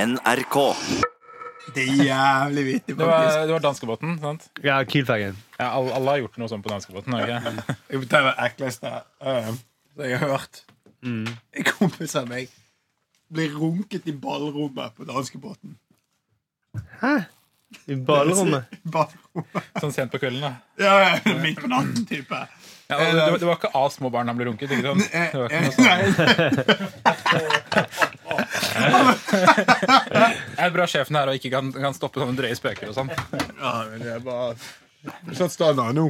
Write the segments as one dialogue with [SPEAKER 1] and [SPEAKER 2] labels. [SPEAKER 1] NRK.
[SPEAKER 2] Det er jævlig vittig,
[SPEAKER 3] Det
[SPEAKER 2] faktisk.
[SPEAKER 3] var, det var danskebåten, sant?
[SPEAKER 4] Ja, Kielfergen.
[SPEAKER 3] Ja, alle, alle har gjort noe sånn på danskebåten. har de ikke?
[SPEAKER 2] Jo, Det var det ekleste eh, det jeg har hørt.
[SPEAKER 5] Mm.
[SPEAKER 2] En kompis av meg ble runket i ballrommet på danskebåten.
[SPEAKER 4] I ballrommet.
[SPEAKER 2] Ballrommet.
[SPEAKER 3] Sånn sent på kvelden, da.
[SPEAKER 2] Ja, ja, midt på natten, type.
[SPEAKER 3] Ja, og det, var- det var ikke av små barn han ble runket? ikke sant?
[SPEAKER 2] Eh,
[SPEAKER 3] Det var ikke
[SPEAKER 2] eh,
[SPEAKER 3] noe sånn.
[SPEAKER 2] nei,
[SPEAKER 3] Det er bra sjefen her og ikke kan, kan stoppe sånne drøye spøker og sånn.
[SPEAKER 2] ja, men det er bare Sånn står det nå.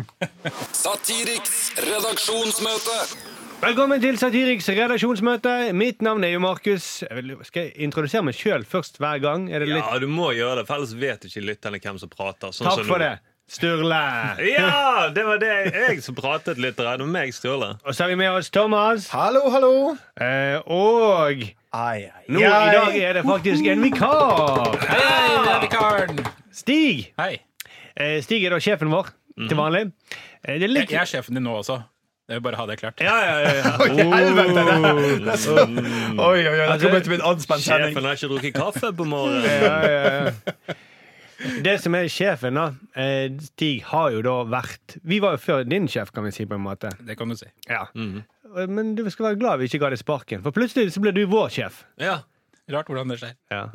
[SPEAKER 6] Satiriks redaksjonsmøte.
[SPEAKER 4] Velkommen til Satiriks redaksjonsmøte. Mitt navn er jo Markus. Jeg vil- Skal jeg introdusere meg sjøl først hver gang? Er det litt...
[SPEAKER 5] Ja, du må gjøre det, for ellers vet ikke lytterne hvem som prater. Sånn
[SPEAKER 4] Takk
[SPEAKER 5] som
[SPEAKER 4] for
[SPEAKER 5] nå.
[SPEAKER 4] det. Sturle.
[SPEAKER 5] Ja, det var det jeg som pratet litt. Det var meg, Sturle.
[SPEAKER 4] Og så har vi med oss Thomas.
[SPEAKER 2] Hallo, hallo.
[SPEAKER 5] Mm.
[SPEAKER 4] Eh, og
[SPEAKER 2] Ai, ai.
[SPEAKER 4] nå i dag er det faktisk en vikar.
[SPEAKER 3] Hei, det er vikaren!
[SPEAKER 4] Stig.
[SPEAKER 3] Hei.
[SPEAKER 4] Eh, Stig er da sjefen vår
[SPEAKER 5] Mhm.
[SPEAKER 4] til vanlig. Eh, det er
[SPEAKER 3] Jeg,
[SPEAKER 4] litt
[SPEAKER 3] jeg er sjefen din nå også. Jeg vil bare ha det klart.
[SPEAKER 5] Ja, ja, ja, ja.
[SPEAKER 2] Oi, oi, oi, det kommer til å bli en anspent sending.
[SPEAKER 5] Sjefen har ikke drukket kaffe på morgenen.
[SPEAKER 4] ja, ja, ja. Det som er sjefen, da. eh, Stig har jo da vært Vi var jo før din sjef, kan vi si, på en måte.
[SPEAKER 3] Det kan du si.
[SPEAKER 4] Ja. Eh, Men du skal være glad vi ikke ga deg sparken, for plutselig så ble du vår sjef.
[SPEAKER 5] Ja,
[SPEAKER 3] Rart hvordan det skjer.
[SPEAKER 4] Ja.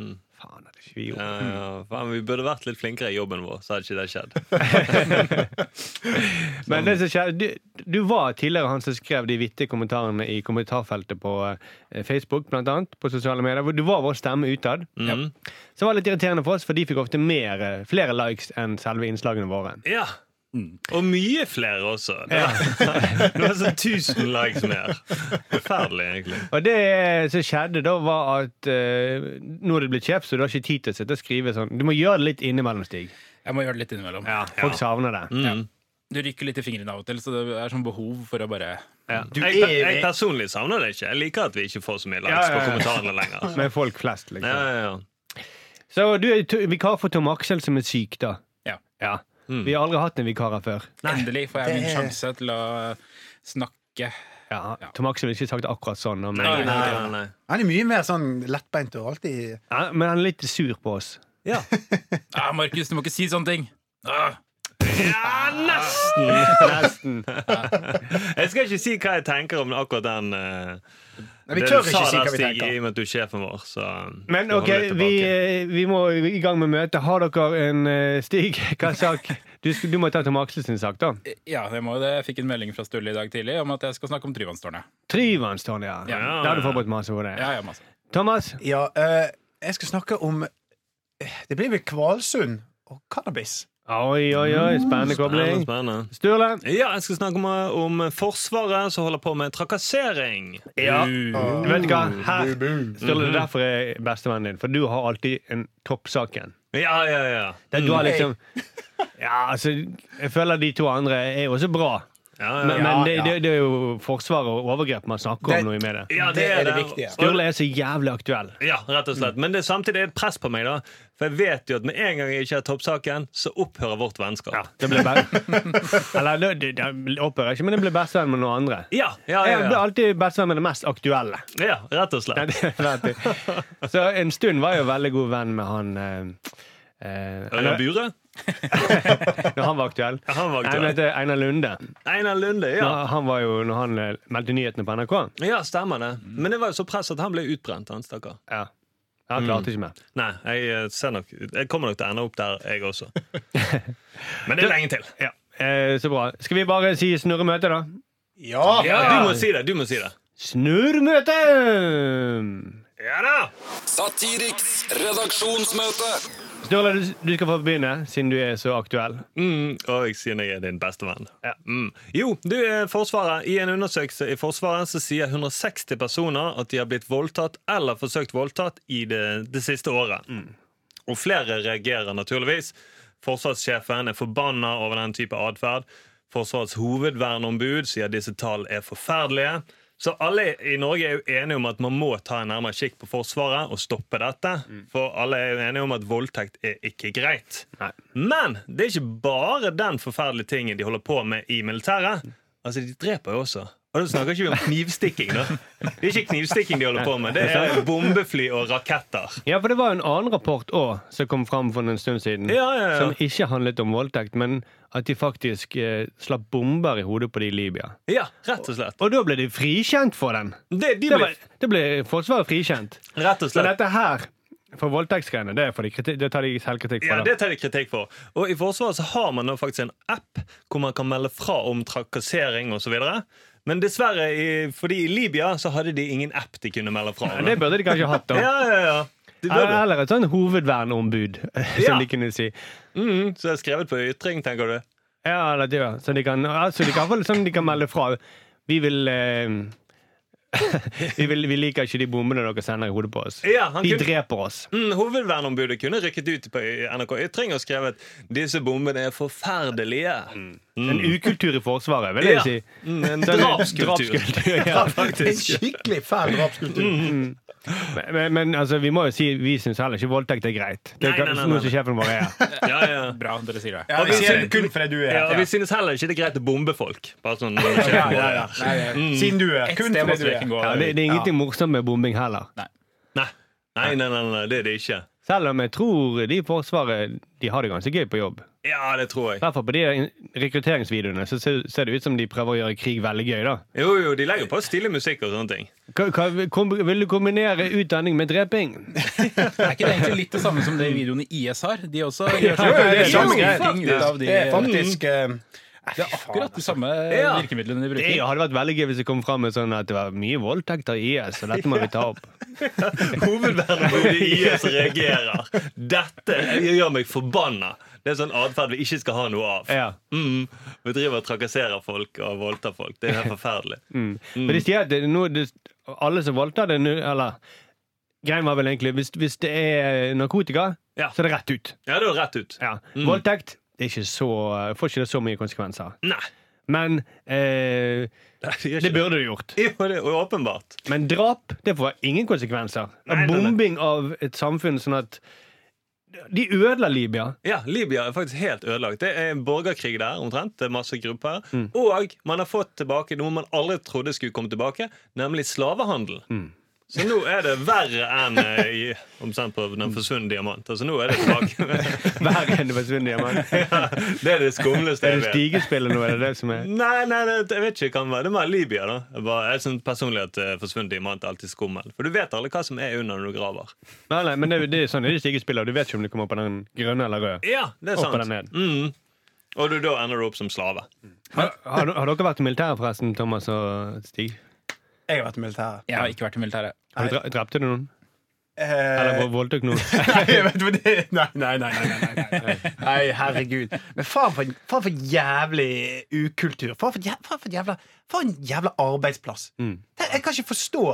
[SPEAKER 4] Faen, hadde ikke vi gjort
[SPEAKER 5] ja, ja. Eh, Faen, vi burde vært litt flinkere i jobben vår, så hadde ikke det skjedd.
[SPEAKER 4] Men det som skjer, du, du var tidligere han som skrev de vittige kommentarene i kommentarfeltet på eh, Facebook, blant annet, på sosiale medier. hvor Du var vår stemme utad.
[SPEAKER 5] Mm.
[SPEAKER 4] Som var litt irriterende for oss, for de fikk ofte mer, eh, flere likes enn selve innslagene våre.
[SPEAKER 5] Ja. Og mye flere også. Det var, det var sånn 1000 likes mer. Forferdelig, egentlig.
[SPEAKER 4] Og det som skjedde da, var at eh, nå er du blitt sjef, så du har ikke tid til å sitte og skrive sånn. Du må gjøre det litt innimellom, Stig.
[SPEAKER 3] Jeg må gjøre det litt innimellom.
[SPEAKER 4] Folk savner det.
[SPEAKER 5] Mm.
[SPEAKER 3] Du rykker litt i fingrene av og til, så det er sånn behov for å bare
[SPEAKER 5] Jeg, jeg personlig savner det ikke. Jeg liker at vi ikke får så mye likes
[SPEAKER 4] Ja, ja, ja.
[SPEAKER 5] på kommentarene lenger.
[SPEAKER 4] Med folk flest,
[SPEAKER 5] Ja,
[SPEAKER 4] liksom.
[SPEAKER 5] ja, ja.
[SPEAKER 4] Så du er to- vikar for Tom Aksel, som er syk, da.
[SPEAKER 3] Ja.
[SPEAKER 4] Ja.
[SPEAKER 5] Mm.
[SPEAKER 4] Vi har aldri hatt en vikar her før.
[SPEAKER 3] Endelig får jeg min sjanse til å snakke.
[SPEAKER 4] Ja, Tom Aksel ville ikke sagt akkurat sånn. Men,
[SPEAKER 5] Nei, nei, nei, nei.
[SPEAKER 2] Han er mye mer sånn lettbeint og alltid
[SPEAKER 4] Ja, men han er litt sur på oss.
[SPEAKER 3] Ah, Markus, du må ikke si sånne ting! Ah,
[SPEAKER 4] Nesten.
[SPEAKER 5] Jeg skal ikke si hva jeg tenker om akkurat den eh,
[SPEAKER 2] Nei, Vi
[SPEAKER 5] det
[SPEAKER 2] tør
[SPEAKER 5] du
[SPEAKER 2] ikke
[SPEAKER 5] sa
[SPEAKER 2] si
[SPEAKER 5] der,
[SPEAKER 2] hva vi
[SPEAKER 5] Stig,
[SPEAKER 2] tenker.
[SPEAKER 5] I og med at du er sjefen vår, så
[SPEAKER 4] Men
[SPEAKER 5] du
[SPEAKER 4] ok,
[SPEAKER 5] holder litt
[SPEAKER 4] vi,
[SPEAKER 5] tilbake.
[SPEAKER 4] eh, vi må i gang med møtet. Har dere en eh, Stig? Hva sak? Du, sk- du må ta Tom Aksel sin sak, da.
[SPEAKER 3] ja, jeg, må, jo det. jeg fikk en melding fra Sturle i dag tidlig om at jeg skal snakke om Tryvannstårnet.
[SPEAKER 4] Tryvannstårnet, ja.
[SPEAKER 3] Ja.
[SPEAKER 4] Da har du forberedt masse på det.
[SPEAKER 3] Ja, ja, masse.
[SPEAKER 4] Thomas?
[SPEAKER 2] Ja, eh, jeg skal snakke om eh, Det blir vel Kvalsund og cannabis.
[SPEAKER 4] Oi, oi, oi. Spennende
[SPEAKER 5] Mm. Spennende,
[SPEAKER 4] kobling.
[SPEAKER 5] spennende.
[SPEAKER 4] Sturle?
[SPEAKER 5] Ja, jeg skal snakke om, eh, om Forsvaret som holder på med trakassering.
[SPEAKER 4] Ja.
[SPEAKER 3] Uh,
[SPEAKER 5] Mm.
[SPEAKER 4] Du vet hva? Her, Sturle, det er derfor jeg er bestevennen din. For du har alltid en toppsaken.
[SPEAKER 5] Ja, ja, ja.
[SPEAKER 4] Det er
[SPEAKER 5] Mm.
[SPEAKER 4] du har liksom Ja, altså, jeg føler de to andre er jo også bra.
[SPEAKER 5] Ja, ja.
[SPEAKER 4] Men, men det,
[SPEAKER 2] ja.
[SPEAKER 4] det, det er jo forsvar og overgrep man snakker
[SPEAKER 2] Det-
[SPEAKER 4] om nå i media.
[SPEAKER 5] ja
[SPEAKER 2] Det er det viktige. Mm.
[SPEAKER 4] Sturle er så jævlig aktuell.
[SPEAKER 5] Ja, rett og slett. Men det er samtidig et press på meg, da. For jeg vet jo at med en gang jeg ikke er toppsaken, så opphører vårt vennskap. Ja,
[SPEAKER 4] Det ble bare Eller det, det, det opphører ikke, men jeg ble bestevenn med noen andre.
[SPEAKER 5] ja, ja.
[SPEAKER 4] Jeg ble
[SPEAKER 5] ja,
[SPEAKER 4] alltid bestevenn med det mest aktuelle.
[SPEAKER 5] ja. rett
[SPEAKER 4] Ja,
[SPEAKER 5] og slett.
[SPEAKER 4] det vet jeg. Så en stund var jeg jo veldig god venn med han eh, eh,
[SPEAKER 5] Ørjan Bure?
[SPEAKER 4] Når han var aktuell.
[SPEAKER 5] Ja, han var aktuell.
[SPEAKER 4] Nei, men det er Einar Lunde.
[SPEAKER 5] Einar Lunde, ja.
[SPEAKER 4] Når han var jo, når han eh, meldte nyhetene på NRK.
[SPEAKER 5] Ja, stemmer det.
[SPEAKER 2] Mm.
[SPEAKER 5] Men det var jo så press at han ble utbrent, han stakkar.
[SPEAKER 4] Ja. Han
[SPEAKER 5] Mm.
[SPEAKER 4] klarte ikke mer.
[SPEAKER 5] Nei, jeg, eh, ser nok, jeg kommer nok til å ende opp der, jeg også. Men det er lenge til.
[SPEAKER 4] Ja. Eh, så bra. Skal vi bare si snurremøte, da?
[SPEAKER 2] Ja!
[SPEAKER 5] Du må si det. du må si det
[SPEAKER 4] Snurrmøte!
[SPEAKER 5] Ja da!
[SPEAKER 6] Satiriks redaksjonsmøte.
[SPEAKER 4] Sturle, du, du skal få begynne, siden du er så aktuell.
[SPEAKER 5] Mm, og jeg sier jeg er din beste venn.
[SPEAKER 4] Ja.
[SPEAKER 5] Mm. Jo, du er Forsvaret. I en undersøkelse i Forsvaret så sier 160 personer at de har blitt voldtatt eller forsøkt voldtatt i det, det siste året. Og flere reagerer naturligvis. Forsvarssjefen er forbanna over den type atferd. Forsvarets hovedverneombud sier disse tall er forferdelige. Så alle i Norge er jo enige om at man må ta en nærmere kikk på Forsvaret og stoppe dette. For alle er jo enige om at voldtekt er ikke greit.
[SPEAKER 4] Nei.
[SPEAKER 5] Men det er ikke bare den forferdelige tingen de holder på med i militæret. Altså, De dreper jo også Og da snakker ikke vi om knivstikking. da Det er ikke knivstikking de holder på med. Det er bombefly og raketter.
[SPEAKER 4] Ja, for det var jo en annen rapport òg som kom fram for en stund siden.
[SPEAKER 5] Ja, ja, ja.
[SPEAKER 4] Som ikke handlet om voldtekt, men at de faktisk eh, slapp bomber i hodet på de i Libya.
[SPEAKER 5] Ja, rett og slett.
[SPEAKER 4] Og da ble de frikjent for den!
[SPEAKER 5] Det, de
[SPEAKER 4] Det
[SPEAKER 5] ble,
[SPEAKER 4] ble, det ble Forsvaret frikjent.
[SPEAKER 5] rett og
[SPEAKER 4] Så
[SPEAKER 5] slett
[SPEAKER 4] dette her, for voldtektsgreiene, det, får de kriti- det tar de selvkritikk for.
[SPEAKER 5] Ja,
[SPEAKER 4] da.
[SPEAKER 5] det tar de kritikk for. Og i Forsvaret så har man nå faktisk en app hvor man kan melde fra om trakassering osv. Men dessverre, i, fordi i Libya så hadde de ingen app de kunne melde fra
[SPEAKER 4] Ja,
[SPEAKER 5] om.
[SPEAKER 4] det burde de kanskje hatt, da.
[SPEAKER 5] Ja, ja, ja. Det bør du.
[SPEAKER 4] Eller et sånn hovedverneombud,
[SPEAKER 5] Ja.
[SPEAKER 4] som de kunne si.
[SPEAKER 5] Mm, så det er skrevet på ytring, tenker du?
[SPEAKER 4] Ja, eller det, ja. Så de kan, altså, de kan, få- sånn, de kan melde fra. Vi vil, eh, vi vil Vi liker ikke de bombene dere sender i hodet på oss.
[SPEAKER 5] Ja, han
[SPEAKER 4] de
[SPEAKER 5] kunne-
[SPEAKER 4] dreper oss.
[SPEAKER 5] Mm, hovedverneombudet kunne rykket ut på NRK Ytring og skrevet 'Disse bombene er forferdelige'. Hm.
[SPEAKER 4] En ukultur i Forsvaret, vil jeg
[SPEAKER 5] Mm. Ja.
[SPEAKER 4] si.
[SPEAKER 5] Mm, en
[SPEAKER 4] Sånn,
[SPEAKER 5] drapskultur.
[SPEAKER 4] drapskultur,
[SPEAKER 5] Ja,
[SPEAKER 4] ja.
[SPEAKER 2] En
[SPEAKER 5] faktisk.
[SPEAKER 2] skikkelig fæl drapskultur.
[SPEAKER 4] Men, men, men altså, vi må jo si vi syns heller ikke voldtekt er greit. Det er
[SPEAKER 5] Nei, nei, nei,
[SPEAKER 4] ikke
[SPEAKER 5] nei.
[SPEAKER 4] noe som sjefen vår er.
[SPEAKER 5] Ja, ja.
[SPEAKER 3] Bra dere sier det.
[SPEAKER 2] Ja, vi
[SPEAKER 5] vi
[SPEAKER 2] sier
[SPEAKER 5] sier-
[SPEAKER 2] det kun fordi du er
[SPEAKER 5] Ja,
[SPEAKER 2] her.
[SPEAKER 5] og vi synes heller ikke det er greit å bombe folk. Bare sånn
[SPEAKER 2] Ja, ja, ja. Mm. Nei, ja. Siden du er.
[SPEAKER 3] Ett
[SPEAKER 2] Kun
[SPEAKER 3] sted må
[SPEAKER 2] fordi du er.
[SPEAKER 3] streken gå.
[SPEAKER 4] Ja, det, det er ingenting morsomt med bombing heller.
[SPEAKER 5] Nei. Nei, nei, nei, nei, det er det ikke.
[SPEAKER 4] Selv om jeg tror de i Forsvaret de har det ganske gøy på jobb.
[SPEAKER 5] Ja, det tror
[SPEAKER 4] I
[SPEAKER 5] jeg.
[SPEAKER 4] hvert fall på de in- rekrutteringsvideoene så ser, ser det ut som de prøver å gjøre krig veldig gøy. da
[SPEAKER 5] Jo, jo, de legger på stilig musikk og sånne ting.
[SPEAKER 4] Hva- hva- kom, Vil du kombinere utdanning med dreping?
[SPEAKER 3] Er ikke det egentlig litt det samme som det videoen i IS har? De også
[SPEAKER 4] Ja,
[SPEAKER 3] gjør
[SPEAKER 4] jo, det er
[SPEAKER 3] sånn
[SPEAKER 4] samme
[SPEAKER 3] ting
[SPEAKER 2] greie.
[SPEAKER 3] ut av de
[SPEAKER 2] Det er faktisk eh,
[SPEAKER 3] Det er akkurat de samme
[SPEAKER 5] Ja.
[SPEAKER 3] virkemidlene de
[SPEAKER 4] Det
[SPEAKER 3] bruker.
[SPEAKER 4] hadde vært veldig gøy hvis det kom fram med sånn at det var mye voldtekter i IS, og dette må vi ta opp.
[SPEAKER 5] Hovedverneombudet i IS reagerer. Dette gjør meg forbanna. Det er sånn atferd vi ikke skal ha noe av.
[SPEAKER 4] Ja.
[SPEAKER 5] Mm. Vi driver og trakasserer folk og voldtar folk. Det er helt forferdelig.
[SPEAKER 4] Mm. Men de sier at det, er noe- det, alle som voldtar det nå, eller Greien var vel egentlig hvis, hvis det er narkotika,
[SPEAKER 5] Ja.
[SPEAKER 4] så er det rett ut.
[SPEAKER 5] Ja, det er jo rett ut.
[SPEAKER 4] Ja. Voldtekt det er ikke så, får ikke det så mye konsekvenser.
[SPEAKER 5] Nei.
[SPEAKER 4] Men eh,
[SPEAKER 5] Nei, det gjør
[SPEAKER 4] det
[SPEAKER 5] ikke det.
[SPEAKER 4] burde det gjort.
[SPEAKER 5] Jo, det er åpenbart.
[SPEAKER 4] Men drap det får ingen konsekvenser.
[SPEAKER 5] Nei, nei, nei.
[SPEAKER 4] Bombing av et samfunn sånn at De ødela Libya.
[SPEAKER 5] Ja, Libya er faktisk helt ødelagt. Det er en borgerkrig der omtrent. Det er masse grupper. Og man har fått tilbake noe man aldri trodde skulle komme tilbake, nemlig slavehandel. Så nå er det verre enn eh, i, omtrent på Den forsvunne diamant. Altså nå er det tilbake.
[SPEAKER 4] Hver gang det forsvinner hjemme.
[SPEAKER 5] det er det skumleste
[SPEAKER 4] Er det
[SPEAKER 5] jeg vet.
[SPEAKER 4] stigespillet nå? Er det det som er
[SPEAKER 5] Nei, nei, det, jeg vet ikke hva det var. Det var Libya, da. Jeg, bare, jeg synes personlig at eh, forsvunnet diamant er alltid skummel. For du vet aldri hva som er under når du graver.
[SPEAKER 4] Nei, nei, men det, er- det er sånn det er stigespillet. Du vet ikke om du kommer på den grønne eller røde.
[SPEAKER 5] Ja, det er
[SPEAKER 4] Opp
[SPEAKER 5] sant.
[SPEAKER 4] eller ned.
[SPEAKER 5] Mm. Og du, da ender du opp som slave.
[SPEAKER 4] Har, har, du- har dere vært i militæret, forresten, Thomas og Stig?
[SPEAKER 2] Jeg har vært i militæret.
[SPEAKER 3] Jeg har ikke vært i militæret.
[SPEAKER 4] Har du dra- drepte du noen? Eller
[SPEAKER 2] Eh,
[SPEAKER 4] vo- voldtok noen?
[SPEAKER 2] Nei, jeg vet hva det er. nei, nei, nei, nei, nei, nei, nei. nei, herregud. Men faen for, faen for jævlig ukultur. Faen for, jæ- faen for, jævla, faen for en jævla arbeidsplass.
[SPEAKER 4] Mm.
[SPEAKER 2] Det, jeg kan ikke forstå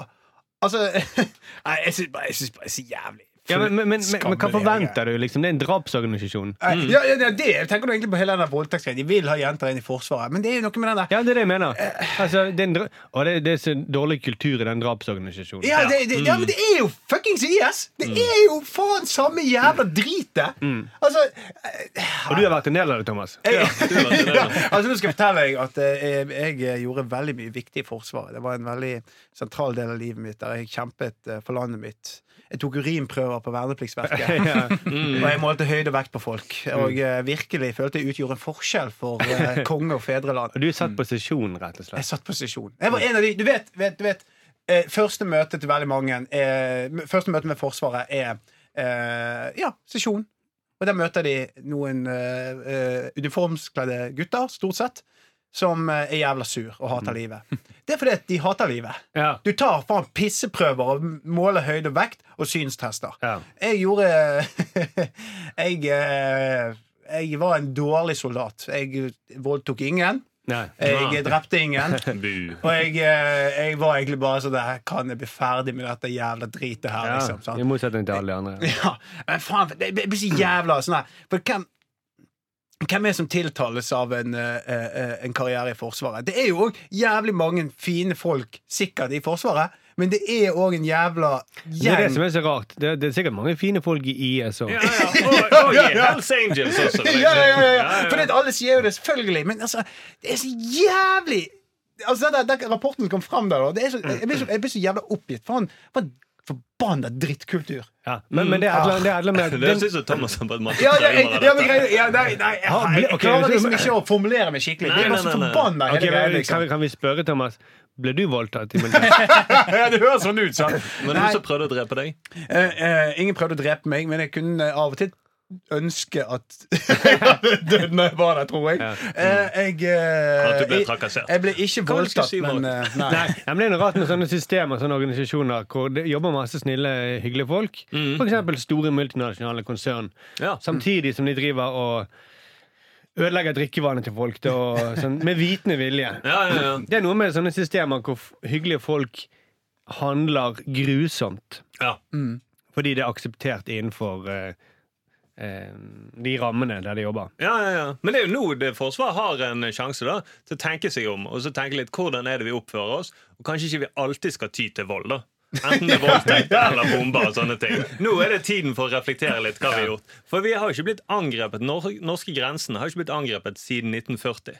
[SPEAKER 2] Altså Nei, jeg syns bare jeg synes bare det er så jævlig.
[SPEAKER 4] Ja, men, men, men, men, men hva
[SPEAKER 2] Skammelig,
[SPEAKER 4] forventer Mm. du? liksom? Det er en drapsorganisasjon.
[SPEAKER 2] Nei, Ja, ja, det, er det jeg tenker du egentlig på hele den der voldtektsgreia. De vil ha jenter inn i Forsvaret, men det er jo noe med den der
[SPEAKER 4] Ja, det er det jeg mener. Altså, det er en dra og det, det er så dårlig kultur i den drapsorganisasjonen.
[SPEAKER 2] ja, det, det, ja, men det er jo fuckings IS!
[SPEAKER 4] Mm.
[SPEAKER 2] Det er jo faen samme jævla dritet! Altså eh,
[SPEAKER 4] Og du har vært en del av det, Thomas.
[SPEAKER 2] Jeg,
[SPEAKER 5] Du, Martin, det er
[SPEAKER 2] ja,
[SPEAKER 5] det.
[SPEAKER 2] altså Nå skal jeg fortelle deg at eh, jeg, jeg gjorde veldig mye viktig i Forsvaret. Det var en veldig sentral del av livet mitt, der jeg kjempet eh, for landet mitt. Jeg tok urinprøver på vernepliktsverket.
[SPEAKER 4] Ja.
[SPEAKER 2] Og jeg målte høyde og vekt på folk. Og eh, virkelig følte jeg utgjorde en forskjell for eh, konge og fedreland.
[SPEAKER 4] Og du er satt på sesjon, rett og slett.
[SPEAKER 2] Jeg satt på sesjon. Jeg var en av de, du vet, vet, du vet eh, Første møte til veldig mange er, Første møte med Forsvaret er eh, Ja, sesjon. Og der møter de noen eh, eh, uniformskledde gutter, stort sett, som eh, er jævla sur og hater livet. Det er fordi at de hater livet.
[SPEAKER 4] Ja.
[SPEAKER 2] Du tar faen pisseprøver og måler høyde og vekt og synstester.
[SPEAKER 4] Ja.
[SPEAKER 2] Jeg gjorde jeg, eh, jeg var en dårlig soldat. Jeg voldtok ingen.
[SPEAKER 4] Nei.
[SPEAKER 2] Jeg drepte ingen. Og jeg, eh, jeg var egentlig bare sånn der, Kan jeg bli ferdig med dette jævla dritet her?
[SPEAKER 4] Ja,
[SPEAKER 2] Liksom, sant?
[SPEAKER 4] I motsetning til alle de andre.
[SPEAKER 2] Ja, men faen, det det blir så jævla sånn her. For hvem, hvem er det som tiltales av en, eh, eh, en karriere i Forsvaret? Det er jo òg jævlig mange fine folk sikkert i Forsvaret, men det er òg en jævla
[SPEAKER 4] Det er det som
[SPEAKER 2] gjeng.
[SPEAKER 4] er så rart. Det, det er sikkert mange fine folk i IS òg.
[SPEAKER 5] Ja, ja. Og, og i Hells Angels også.
[SPEAKER 2] Ja,
[SPEAKER 5] liksom.
[SPEAKER 2] ja, ja,
[SPEAKER 5] Ja,
[SPEAKER 2] ja. For det, alle sier jo det, selvfølgelig, men altså, det er så jævlig altså, den, den rapporten som kom fram der, da, det er så, jeg, blir så, jeg blir så jævla oppgitt. For han for en forbanna drittkultur.
[SPEAKER 4] Ja, men, men det er et eller annet- det er et eller annet med
[SPEAKER 5] Det
[SPEAKER 4] at den-
[SPEAKER 5] syns jo Thomas har vært masse
[SPEAKER 2] Ja, det, jeg,
[SPEAKER 5] traumer av
[SPEAKER 2] ja, men
[SPEAKER 5] dette.
[SPEAKER 2] greier, ja, nei, nei, jeg,
[SPEAKER 4] Ah,
[SPEAKER 2] jeg,
[SPEAKER 4] ble- ok,
[SPEAKER 2] klarer
[SPEAKER 4] så-
[SPEAKER 2] liksom ikke å formulere meg skikkelig.
[SPEAKER 5] Nei,
[SPEAKER 2] Jeg blir så
[SPEAKER 5] nei, nei, nei.
[SPEAKER 2] forbanna
[SPEAKER 4] Ok,
[SPEAKER 2] hele greia.
[SPEAKER 4] men kan,
[SPEAKER 2] Liksom.
[SPEAKER 4] vi- kan vi spørre Thomas Ble du voldtatt i militæret?
[SPEAKER 2] det høres sånn ut, sant?
[SPEAKER 5] Men
[SPEAKER 2] Nei.
[SPEAKER 5] hun som prøvde å drepe deg?
[SPEAKER 2] Eh, eh, ingen prøvde å drepe meg, men jeg kunne eh, av og til ønske at jeg hadde dødd når jeg var der, tror jeg. Eh, jeg eh,
[SPEAKER 5] At du ble
[SPEAKER 2] jeg-
[SPEAKER 5] trakassert.
[SPEAKER 2] Jeg ble ikke
[SPEAKER 5] Hva var det du skulle
[SPEAKER 2] voldtatt,
[SPEAKER 5] si, Mark?
[SPEAKER 2] men eh, nei.
[SPEAKER 4] Nei, ja, men Det er noe rart med sånne systemer sånne organisasjoner hvor det jobber masse snille, hyggelige folk. For eksempel store multinasjonale konsern.
[SPEAKER 5] Ja.
[SPEAKER 4] Samtidig som de driver og ødelegger drikkevannet til folk da, og sånn, med vitende vilje.
[SPEAKER 5] Ja, ja, ja.
[SPEAKER 4] Det er noe med sånne systemer hvor f- hyggelige folk handler grusomt
[SPEAKER 5] ja.
[SPEAKER 4] fordi det er akseptert innenfor eh, eh, de rammene der de jobber.
[SPEAKER 5] Ja, ja, ja. Men det er jo nå det Forsvaret har en sjanse da, til å tenke seg om og så tenke litt hvordan er det vi oppfører oss. Og kanskje ikke vi alltid skal ty til vold. da. Enten det er voldtekt eller bomber. og sånne ting. Nå er det tiden for å reflektere litt hva vi har gjort. For vi har jo ikke blitt angrepet, Nor norske grensen har jo ikke blitt angrepet siden 1940.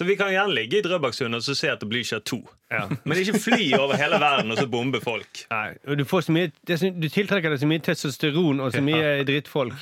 [SPEAKER 5] Så vi kan gjerne ligge i Drøbaksundet og så se at det blir ikke to. Men ikke fly over hele verden og så bombe folk.
[SPEAKER 4] Nei, og du, får så mye, det er så- du tiltrekker deg så mye testosteron og så mye drittfolk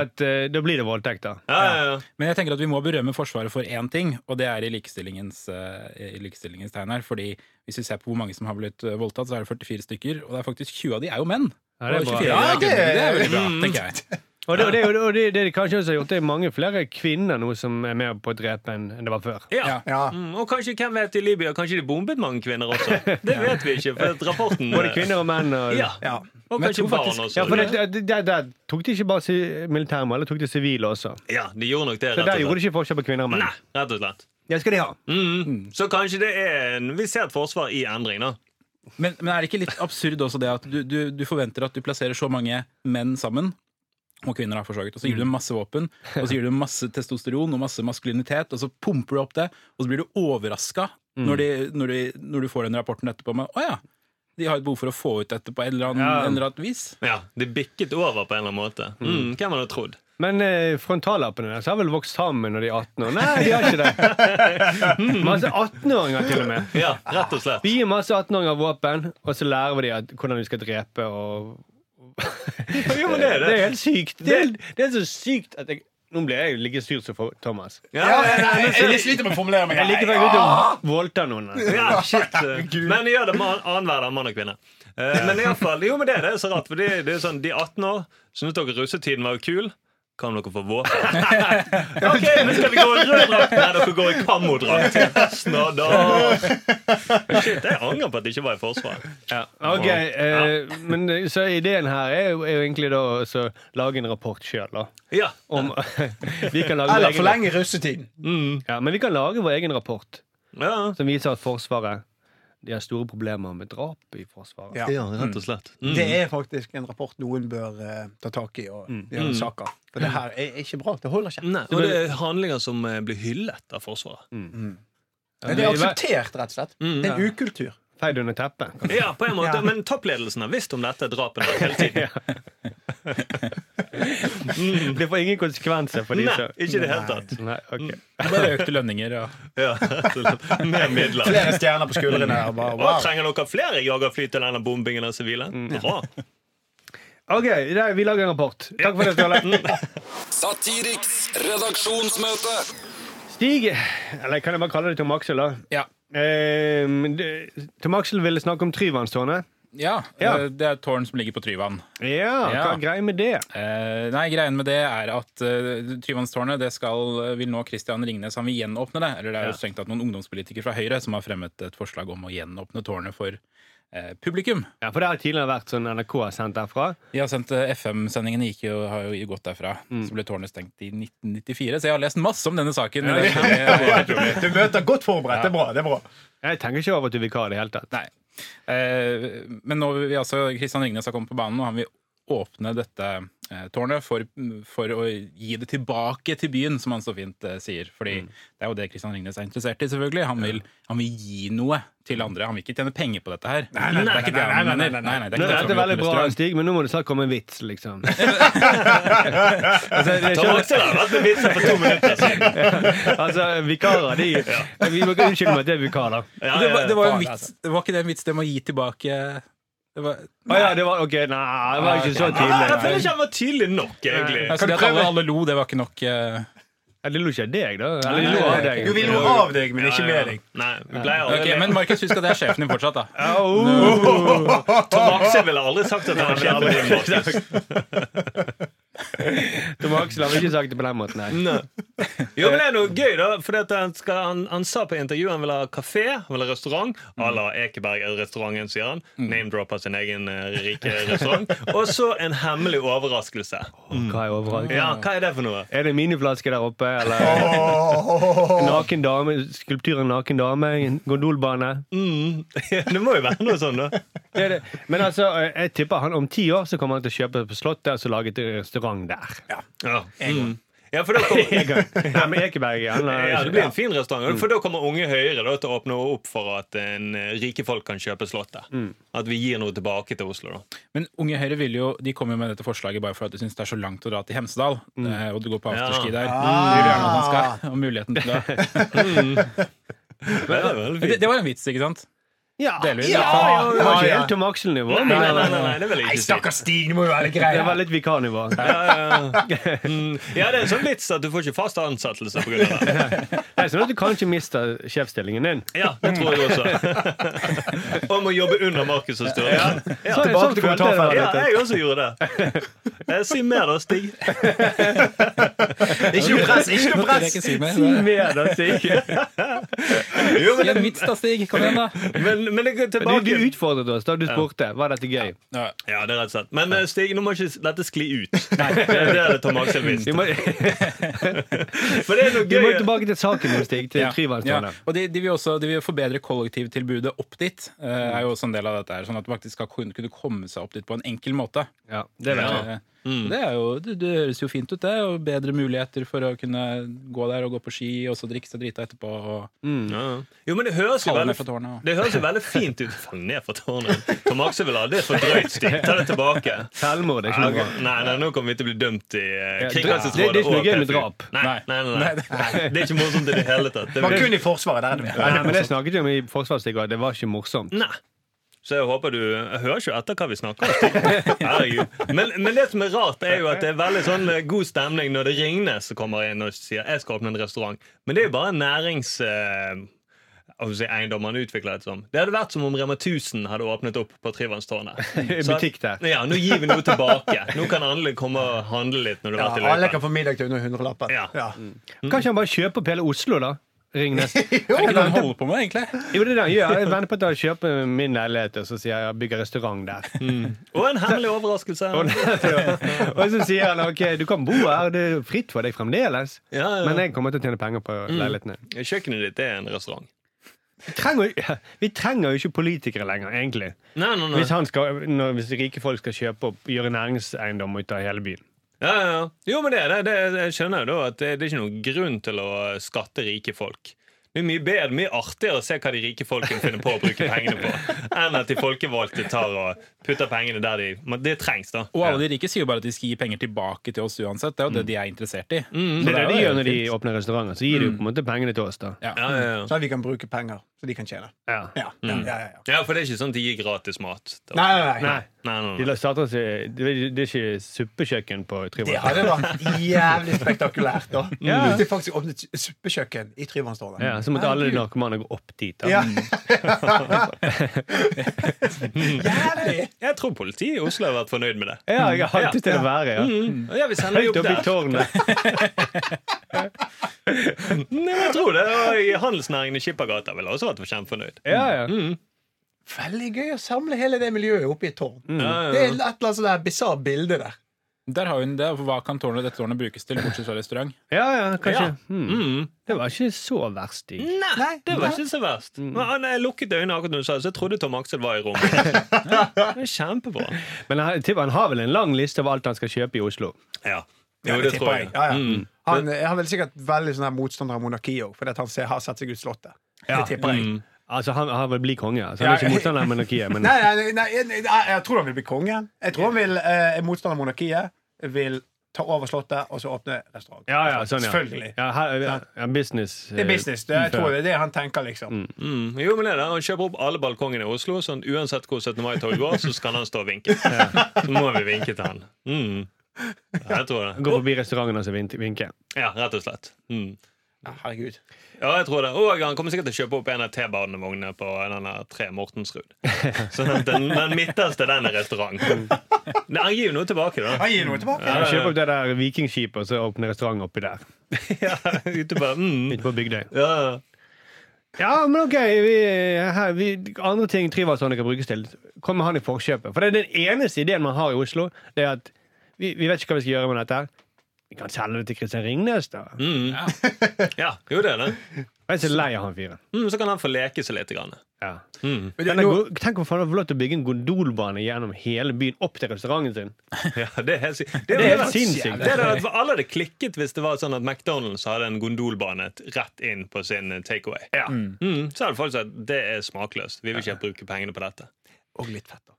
[SPEAKER 4] at eh, da blir det voldtekter.
[SPEAKER 5] Ja, ja, ja.
[SPEAKER 3] Men jeg tenker at vi må berømme Forsvaret for én ting, og det er i likestillingens, eh, i likestillingens tegn her. Fordi hvis vi ser på hvor mange som har blitt eh, voldtatt, så er det 44 stykker. Og det er faktisk 20 av de er jo menn.
[SPEAKER 4] Ja, det er
[SPEAKER 3] Og
[SPEAKER 4] bra.
[SPEAKER 3] 24
[SPEAKER 4] Ja,
[SPEAKER 3] er
[SPEAKER 2] det-
[SPEAKER 3] kvinner. det er veldig bra, tenker jeg.
[SPEAKER 4] Og det, og det, og det, og det, det de kanskje også har gjort, det er mange flere kvinner nå som er med på å drepe enn enn det var før.
[SPEAKER 5] Ja.
[SPEAKER 2] Ja.
[SPEAKER 5] Mm, og kanskje hvem vet i Libya, kanskje de bombet mange kvinner også. Det vet vi ikke. for at rapporten...
[SPEAKER 4] Både kvinner og menn. Og,
[SPEAKER 5] Ja.
[SPEAKER 2] Ja.
[SPEAKER 5] Og
[SPEAKER 3] Men jeg
[SPEAKER 5] kanskje
[SPEAKER 3] tror
[SPEAKER 5] barn
[SPEAKER 3] faktisk-
[SPEAKER 5] også.
[SPEAKER 4] Ja, for det, det, det, der tok de ikke bare si, militærmål, de tok de sivile også.
[SPEAKER 5] Ja, de gjorde nok det,
[SPEAKER 4] Så
[SPEAKER 5] rett
[SPEAKER 4] der
[SPEAKER 5] og
[SPEAKER 4] gjorde de
[SPEAKER 5] slett.
[SPEAKER 4] ikke forskjell på kvinner og menn.
[SPEAKER 5] Nei, rett og slett.
[SPEAKER 4] Det skal de ha.
[SPEAKER 5] Mm. Så kanskje det er en, Vi ser et forsvar i endring, da.
[SPEAKER 3] Men, men er det ikke litt absurd også det at du, du, du forventer at du plasserer så mange menn sammen? Og kvinner har forslaget, og så gir du dem masse våpen, og så gir du dem masse testosteron og masse maskulinitet, og så pumper du opp det, og så blir du overraska når, de- når, de- når du får den rapporten etterpå med å ja, de har et behov for å få ut dette på et eller annet,
[SPEAKER 4] Ja.
[SPEAKER 3] en eller annet vis.
[SPEAKER 5] Ja, Det bikket over på en eller annen måte. Mm. Hvem hadde trodd?
[SPEAKER 4] Men eh, frontallappene deres har vel vokst sammen når de er 18 år? Nei, de har ikke det. Masse 18-åringer, til og med.
[SPEAKER 5] Ja, rett og slett.
[SPEAKER 4] Vi gir masse 18-åringer våpen, og så lærer vi dem at, hvordan vi skal drepe og
[SPEAKER 5] Jo, men det er
[SPEAKER 4] Det
[SPEAKER 5] det.
[SPEAKER 4] er helt sykt. Det er, det er så sykt at jeg Nå ble jeg jo like sur som for Thomas.
[SPEAKER 5] Ja,
[SPEAKER 2] Ja,
[SPEAKER 5] ja,
[SPEAKER 2] jeg,
[SPEAKER 5] ja,
[SPEAKER 2] jeg, jeg sliter med å formulere meg.
[SPEAKER 4] Jeg liker faktisk ikke å voldta noen.
[SPEAKER 5] ja, shit. Men de gjør det man- annenhver dag, mann og kvinne. Eh, Men i alle fall, jo, men det, er- det er så rart. For det, det er sånn, De er 18 år syntes dere russetiden var kul. Kan dere få våpen? ok, men skal vi gå i rød drakt? Nei, dere går i kammodrakt. Snadda. Shit, jeg angrer på at jeg ikke var i Forsvaret.
[SPEAKER 4] Ja, ok, eh, men eh, Så ideen her er jo, er jo egentlig da å så lage en rapport sjøl, da.
[SPEAKER 5] Ja.
[SPEAKER 4] Om, vi kan lage vår
[SPEAKER 2] Eller
[SPEAKER 4] egen-
[SPEAKER 2] forlenge russetiden.
[SPEAKER 4] Ja, men vi kan lage vår egen rapport
[SPEAKER 5] ja.
[SPEAKER 4] som viser at Forsvaret De har store problemer med drap i Forsvaret.
[SPEAKER 2] Ja.
[SPEAKER 5] rett og slett.
[SPEAKER 2] Det er faktisk en rapport noen bør eh, ta tak i og gjøre saker. For det her er ikke bra. Det holder ikke.
[SPEAKER 5] Nei, og det er handlinger som eh, blir hyllet av Forsvaret.
[SPEAKER 2] Men det er akseptert, rett og slett.
[SPEAKER 5] Mm,
[SPEAKER 2] Det er en ukultur.
[SPEAKER 4] Feid under teppet.
[SPEAKER 5] Ja, på en måte,
[SPEAKER 2] Mm. Ja.
[SPEAKER 5] Men toppledelsen har visst om dette drapene hele tiden.
[SPEAKER 4] Det får ingen konsekvenser for de
[SPEAKER 5] Nei,
[SPEAKER 4] som
[SPEAKER 5] ikke i det hele tatt.
[SPEAKER 4] Nei, ok.
[SPEAKER 3] Bare økte lønninger og
[SPEAKER 5] Ja, rett og slett. Mer midler.
[SPEAKER 2] Flere stjerner på skuldrene. Og bare,
[SPEAKER 5] Hva,
[SPEAKER 2] wow.
[SPEAKER 5] trenger dere flere jagerfly til denne bombingen av sivile?
[SPEAKER 3] Mm.
[SPEAKER 5] Bra.
[SPEAKER 4] OK, det er- vi lager en rapport. Takk for det, Ståle.
[SPEAKER 6] Satiriks redaksjonsmøte.
[SPEAKER 4] Stig, eller kan jeg bare kalle deg Tom Aksel, da?
[SPEAKER 3] Ja.
[SPEAKER 4] Eh, det- Tom Aksel ville snakke om Tryvannstårnet.
[SPEAKER 3] Ja,
[SPEAKER 4] Ja.
[SPEAKER 3] eh, Det er et tårn som ligger på Tryvann.
[SPEAKER 4] Ja, hva
[SPEAKER 3] Ja.
[SPEAKER 4] er greia med det?
[SPEAKER 3] Eh, nei, Greien med det er at eh, Tryvannstårnet det skal, eh, vil nå Christian Ringnes han vil gjenåpne det. Eller det er jo strengt tatt noen ungdomspolitikere fra Høyre som har fremmet et forslag om å gjenåpne tårnet for eh, publikum.
[SPEAKER 4] Ja, for det har tidligere vært sånn NRK har sendt derfra.
[SPEAKER 3] De har sendt FM-sendingen gikk jo, har jo gått derfra. Så ble tårnet stengt i 1994. Så jeg har lest masse om denne saken. men det er-
[SPEAKER 2] Du møter godt forberedt. Det er bra. det er bra
[SPEAKER 4] Jeg tenker ikke over at du er vikar i det hele tatt.
[SPEAKER 3] Nei. Eh, men nå vil vi altså, Kristian Ringnes har kommet på banen, og han vil åpne dette eh, tårnet for, for å gi det tilbake til byen, som han så fint eh, sier. Fordi det er jo det Kristian Ringnes er interessert i, selvfølgelig. Han vil, han vil gi noe til andre. Han vil ikke tjene penger på dette her.
[SPEAKER 2] Nei, nei,
[SPEAKER 3] det er ikke det han
[SPEAKER 2] nei, nei, nei,
[SPEAKER 3] mener.
[SPEAKER 2] nei, nei,
[SPEAKER 3] Nei, nei, det
[SPEAKER 4] Nå
[SPEAKER 3] er ikke
[SPEAKER 4] er
[SPEAKER 3] det
[SPEAKER 4] dette
[SPEAKER 3] som
[SPEAKER 4] veldig
[SPEAKER 3] åpner
[SPEAKER 4] bra,
[SPEAKER 3] restaurant.
[SPEAKER 4] Stig, men nå må det snart komme en vits, liksom. altså, det
[SPEAKER 5] Tom
[SPEAKER 4] skjønner-
[SPEAKER 5] Aksel har vært med vitser for to minutter siden.
[SPEAKER 4] altså, vikarer, de Vi må ikke unnskylde meg at det er vikar, da.
[SPEAKER 5] Ja,
[SPEAKER 3] Det var, det var jo en
[SPEAKER 5] faen, altså.
[SPEAKER 3] vits. Det var ikke det en vits, det med å gi tilbake eh, det var,
[SPEAKER 4] Å ja, det var ok, nei, det var ikke så
[SPEAKER 3] Ok.
[SPEAKER 5] altså. Jeg føler
[SPEAKER 4] tydelig.
[SPEAKER 5] ikke han var tydelig nok, egentlig.
[SPEAKER 3] altså, det at alle, alle lo, det var ikke nok. eh,
[SPEAKER 4] Ja, det lo ikke av deg, da. Eller de
[SPEAKER 3] Nei,
[SPEAKER 4] lo av
[SPEAKER 3] nei,
[SPEAKER 4] deg.
[SPEAKER 2] Jo, vi lo av deg, men ikke med deg.
[SPEAKER 5] Nei, vi pleier
[SPEAKER 3] Ok,
[SPEAKER 5] aldri
[SPEAKER 3] Men Markus, husk at det er sjefen din fortsatt, da.
[SPEAKER 4] oh,
[SPEAKER 5] Tom Aksel ville aldri sagt at han var din Markus.
[SPEAKER 4] Tom Aksel har ikke sagt det på den måten, nei.
[SPEAKER 5] Jo, men det er noe gøy, da. For han, skal, han, han sa på intervjuet han vil ha kafé, han vil ha restaurant.
[SPEAKER 3] Mm.
[SPEAKER 5] À la Ekeberg-restauranten, sier han. Name-dropper sin egen eh, rike restaurant. Og så en hemmelig overraskelse.
[SPEAKER 4] Hva er overalt?
[SPEAKER 5] Ja, hva er det for noe?
[SPEAKER 4] Er det miniflaske der oppe, eller naken dame, skulptur av en naken dame, en gondolbane?
[SPEAKER 5] Mm. Det må jo være noe sånn, da.
[SPEAKER 4] Det er det. Men altså, jeg tipper han om ti år så kommer han til å kjøpe på Slottet og så lage et restaurant der.
[SPEAKER 5] Ja, mm. ja for da kommer
[SPEAKER 4] Nei, men Ekeberg, han er
[SPEAKER 5] Ja, det blir en fin restaurant. For da kommer Unge Høyre da, til å åpne opp for at en, eh, rike folk kan kjøpe Slottet. At vi gir noe tilbake til Oslo, da.
[SPEAKER 3] Men Unge Høyre vil jo, de kommer jo med dette forslaget bare for at de syns det er så langt å dra til Hemsedal. eh, Og du går på afterski
[SPEAKER 5] Ja.
[SPEAKER 3] der.
[SPEAKER 2] Ah.
[SPEAKER 3] Vil gjerne at han skal, og muligheten til det.
[SPEAKER 5] Det er veldig
[SPEAKER 3] det.
[SPEAKER 5] fint.
[SPEAKER 3] Det var en vits, ikke sant?
[SPEAKER 4] Ja,
[SPEAKER 3] Delvis.
[SPEAKER 4] ja, ja, det var ikke
[SPEAKER 2] Ja, ja.
[SPEAKER 4] helt Tom Aksel-nivå.
[SPEAKER 5] Nei, nei, nei, nei, det vil jeg
[SPEAKER 2] Nei,
[SPEAKER 5] ikke si.
[SPEAKER 2] stakkars Stig, det må jo være
[SPEAKER 4] Det var
[SPEAKER 2] greit.
[SPEAKER 4] litt vikarnivå.
[SPEAKER 5] Ja, ja, ja. Mm. ja, det er en sånn vits at du får ikke fast ansettelse pga. det.
[SPEAKER 4] Det er sånn at du kan ikke miste sjefsstillingen din.
[SPEAKER 5] Ja, det tror jeg også. Og må jobbe under Markus og Sturle. Ja, ja.
[SPEAKER 4] Sånn-
[SPEAKER 2] tilbake
[SPEAKER 4] sånn
[SPEAKER 2] til
[SPEAKER 4] følte jeg det var litt.
[SPEAKER 5] jeg også gjorde det. Eh, Si mer, da, Stig.
[SPEAKER 2] Ikke noe press! ikke
[SPEAKER 3] Nå
[SPEAKER 2] noe
[SPEAKER 3] vil jeg
[SPEAKER 2] press
[SPEAKER 3] ikke si mer.
[SPEAKER 4] Si mer, da, Stig.
[SPEAKER 5] Jo,
[SPEAKER 3] Si
[SPEAKER 5] men,
[SPEAKER 3] en vits da, Stig. Kom igjen, da.
[SPEAKER 5] men, men det går
[SPEAKER 4] Du, du
[SPEAKER 5] tilbake
[SPEAKER 4] utfordret oss da du spurte var dette gøy.
[SPEAKER 3] Ja.
[SPEAKER 5] Ja, det er rett og slett. Men eh, Stig, nå må ikke dette skli ut. Det er det Tom Aksel
[SPEAKER 4] Vi
[SPEAKER 5] visste.
[SPEAKER 4] må,
[SPEAKER 5] For det er noe
[SPEAKER 4] vi må
[SPEAKER 5] gøy.
[SPEAKER 4] tilbake til saken din, Stig. Til
[SPEAKER 3] Ja,
[SPEAKER 4] Tryvannstående.
[SPEAKER 3] ja. Og de, de vil også de vil forbedre kollektivtilbudet opp dit. eh, er jo også en del av dette her, Sånn at man faktisk skal kun- kunne komme seg opp dit på en enkel måte.
[SPEAKER 4] Ja, det vet jeg.
[SPEAKER 3] Eh, Det, er jo, det, det høres jo fint ut, det. Og bedre muligheter for å kunne gå der og gå på ski og så drikke seg drita etterpå. Og
[SPEAKER 5] Ja. Jo, men det høres jo
[SPEAKER 3] falle ned
[SPEAKER 5] veldig
[SPEAKER 3] fra tårnet. og-
[SPEAKER 5] det høres jo veldig fint ut. Fall ned fra tårnet. Tom Aksel vil ha det er for drøyt, Stig. Ta det tilbake.
[SPEAKER 4] Selvmord er ikke
[SPEAKER 5] Ja,
[SPEAKER 4] noe bra.
[SPEAKER 5] ok. Nei, nei, nå kommer vi til å bli dømt i eh,
[SPEAKER 4] Ja,
[SPEAKER 5] Kringkastingsrådet.
[SPEAKER 4] det- det er ikke noe
[SPEAKER 5] og
[SPEAKER 4] gøy med
[SPEAKER 5] PFU.
[SPEAKER 4] drap.
[SPEAKER 5] Nei, nei, nei, nei, Det er ikke morsomt i det hele tatt. Det
[SPEAKER 2] Man
[SPEAKER 5] blir...
[SPEAKER 2] kun i Forsvaret, der er det mer.
[SPEAKER 4] Nei, men det snakket vi om i Forsvarsstiga, det var ikke morsomt.
[SPEAKER 5] Nei. Så jeg håper du Jeg hører ikke etter hva vi snakker om. Herregud. Men, men det som er rart, er jo at det er veldig sånn eh, god stemning når det Ringnes som kommer inn og sier 'jeg skal åpne en restaurant'. Men det er jo bare nærings... Eh, hva skal jeg si, eiendom han utvikler det som. Det hadde vært som om Rema 1000 hadde åpnet opp på Trivannstårnet. Så-
[SPEAKER 4] Butikk der.
[SPEAKER 5] Ja, nå gir vi noe tilbake. Nå kan alle komme og handle litt når du har
[SPEAKER 2] Ja,
[SPEAKER 5] vært i
[SPEAKER 2] alle
[SPEAKER 5] løypa.
[SPEAKER 2] kan få middag til under hundrelappen.
[SPEAKER 5] Ja.
[SPEAKER 4] Kanskje han bare kjøper opp hele Oslo, da? Ringnes.
[SPEAKER 2] Jo,
[SPEAKER 3] Hva er det
[SPEAKER 2] men-
[SPEAKER 3] han holder på med, egentlig?
[SPEAKER 4] Jo, det er det han gjør. Jeg venter på at han kjøper min leilighet og så sier jeg, jeg bygger restaurant der.
[SPEAKER 5] Og en hemmelig overraskelse.
[SPEAKER 4] Og så sier han ok, du kan bo her, det er fritt for deg fremdeles.
[SPEAKER 5] Ja, ja.
[SPEAKER 4] Men jeg kommer til å tjene penger på leilighetene.
[SPEAKER 5] Kjøkkenet ditt er en restaurant.
[SPEAKER 4] Vi trenger, jo- vi trenger jo ikke politikere lenger, egentlig.
[SPEAKER 5] Nei, nei, nei.
[SPEAKER 4] Hvis, han skal, når, hvis rike folk skal kjøpe opp, gjøre næringseiendom ut av hele byen.
[SPEAKER 5] Ja, ja, ja. Jo, men det, er det, det jeg skjønner jo da at det, det er ikke noen grunn til å skatte rike folk. Det er mye bedre, mye artigere å se hva de rike folkene finner på å bruke pengene på, enn at de folkevalgte tar og putter pengene der de men Det trengs, da.
[SPEAKER 3] Og alle de rike sier jo bare at de skal gi penger tilbake til oss uansett. Det er jo det de er interessert i. Så
[SPEAKER 5] Mm,
[SPEAKER 4] Det er det de
[SPEAKER 3] jo
[SPEAKER 4] gjør når de
[SPEAKER 3] fint.
[SPEAKER 4] åpner restauranter. Så gir de jo på en måte pengene til oss, da.
[SPEAKER 3] Ja.
[SPEAKER 5] Ja, ja, ja.
[SPEAKER 2] Så at vi kan bruke penger, så de kan tjene.
[SPEAKER 4] Ja.
[SPEAKER 2] Ja, ja, ja, ja, ja.
[SPEAKER 5] ja, for det er ikke sånn at de gir gratis mat.
[SPEAKER 2] Nei, nei, nei.
[SPEAKER 4] Nei.
[SPEAKER 5] Nei, nei,
[SPEAKER 4] De
[SPEAKER 5] nei.
[SPEAKER 4] la- starter seg, det er det er ikke suppekjøkken på
[SPEAKER 2] Det
[SPEAKER 4] Tryvann.
[SPEAKER 2] hadde vært jævlig spektakulært. da Hvis de faktisk åpnet suppekjøkken i Tryvannstårnet.
[SPEAKER 4] Ja, så måtte alle de narkomane gå opp dit. Da.
[SPEAKER 2] Ja. Jævlig!
[SPEAKER 5] Jeg tror politiet i Oslo har vært fornøyd med det.
[SPEAKER 4] Ja, jeg har alltid til å være, ja.
[SPEAKER 5] Ja, vi sender de
[SPEAKER 4] Høyt
[SPEAKER 5] opp
[SPEAKER 4] oppe i
[SPEAKER 5] der.
[SPEAKER 4] tårnet.
[SPEAKER 5] Nei, men jeg tror det. Og i handelsnæringen i Skippergata ville også vært kjempefornøyd.
[SPEAKER 4] Ja, ja.
[SPEAKER 2] Veldig gøy å samle hele det miljøet oppe i et tårn.
[SPEAKER 5] Ja,
[SPEAKER 2] Det
[SPEAKER 5] ja,
[SPEAKER 2] er et eller annet sånn der bisart bilde der.
[SPEAKER 3] Der har hun det. og Hva kan tårnet dette tårnet brukes til, bortsett fra restaurant?
[SPEAKER 4] Ja, ja, kanskje.
[SPEAKER 5] Ja.
[SPEAKER 4] Hmm.
[SPEAKER 5] Mm.
[SPEAKER 4] Det var ikke så verst. Stig.
[SPEAKER 5] Nei, det var ikke så verst. Men han eh, lukket øynene akkurat når du sa det, så jeg trodde Tom Axel var i rommet. Det er Kjempebra.
[SPEAKER 4] Men han, Tim, han har vel en lang liste av alt han skal kjøpe i Oslo.
[SPEAKER 5] Ja. Jo,
[SPEAKER 2] Ja, det
[SPEAKER 5] det
[SPEAKER 2] tipper
[SPEAKER 5] tror jeg.
[SPEAKER 2] jeg. Ja, ja.
[SPEAKER 5] Mm.
[SPEAKER 2] Han eh, har vel sikkert veldig sånn her motstander av monarki òg, fordi at han ser, har satt seg ut Slottet.
[SPEAKER 4] Ja.
[SPEAKER 2] Det tipper jeg.
[SPEAKER 5] Mm.
[SPEAKER 4] Altså, Han, han vil bli konge. Altså, han er
[SPEAKER 2] Ja,
[SPEAKER 4] ikke
[SPEAKER 2] ja.
[SPEAKER 4] motstander av monarkiet. Men
[SPEAKER 2] Nei, nei, nei, nei, nei, jeg tror han vil bli konge. Jeg tror han vil eh, er motstander av monarkiet. Vil ta over Slottet og så åpne restaurant.
[SPEAKER 4] ja, ja, sånn, ja.
[SPEAKER 2] Selvfølgelig.
[SPEAKER 4] Ja, her, ja, ja, Sånn. business. eh,
[SPEAKER 2] Det er business. Det, jeg
[SPEAKER 4] før.
[SPEAKER 2] tror det er det han tenker, liksom.
[SPEAKER 5] Mm. Jo, men det er det. Han kjøper opp alle balkongene i Oslo, sånn uansett hvor 17. mai-toget går, så skal han stå og vinke. Så må vi vinke til han. Mm. Ja, jeg tror det.
[SPEAKER 4] Gå forbi restauranten og så vin- vinke.
[SPEAKER 5] Ja, rett og slett. Mm.
[SPEAKER 2] Ja, herregud.
[SPEAKER 5] Ja, jeg tror det. Og han kommer sikkert til å kjøpe opp en av T-banevognene på den der tre Mortensrud. Sånn at den, den midterste, den er restaurant. Nei, han gir jo noe tilbake, da.
[SPEAKER 2] Han gir noe tilbake.
[SPEAKER 4] Ja, Kjøp opp det der vikingskipet og så åpne restaurant oppi der.
[SPEAKER 5] Ja, ute på, mm.
[SPEAKER 4] Ute på Bygdøy.
[SPEAKER 5] ja.
[SPEAKER 4] Ja, men ok, vi, eh, her, vi, Andre ting Tryvannssonen kan brukes til, kommer han i forkjøpet. For det er den eneste ideen man har i Oslo. Det er at vi, vi vet ikke hva vi skal gjøre med dette. her. Vi kan selge det til Kristian Ringnes, da.
[SPEAKER 5] Mm.
[SPEAKER 3] Ja.
[SPEAKER 5] ja, jo det er det.
[SPEAKER 4] Jeg er så lei av han fyren.
[SPEAKER 5] Mm, så kan han få leke seg litt. Grann.
[SPEAKER 4] Ja.
[SPEAKER 5] Mm.
[SPEAKER 2] Men det-
[SPEAKER 4] Denne
[SPEAKER 2] nå-
[SPEAKER 4] go- Tenk om han får lov til å bygge en gondolbane gjennom hele byen opp til restauranten sin.
[SPEAKER 5] Ja, det er helt sykt.
[SPEAKER 4] Det er
[SPEAKER 5] var-
[SPEAKER 4] helt sinnssykt.
[SPEAKER 5] Det hadde vært- alle hadde klikket hvis det var sånn at McDonald's hadde en gondolbane rett inn på sin eh, takeaway.
[SPEAKER 4] Ja.
[SPEAKER 5] Mm, så hadde folk sagt det er smakløst. Vi vil ikke bruke pengene på dette.
[SPEAKER 2] Og litt fett, da.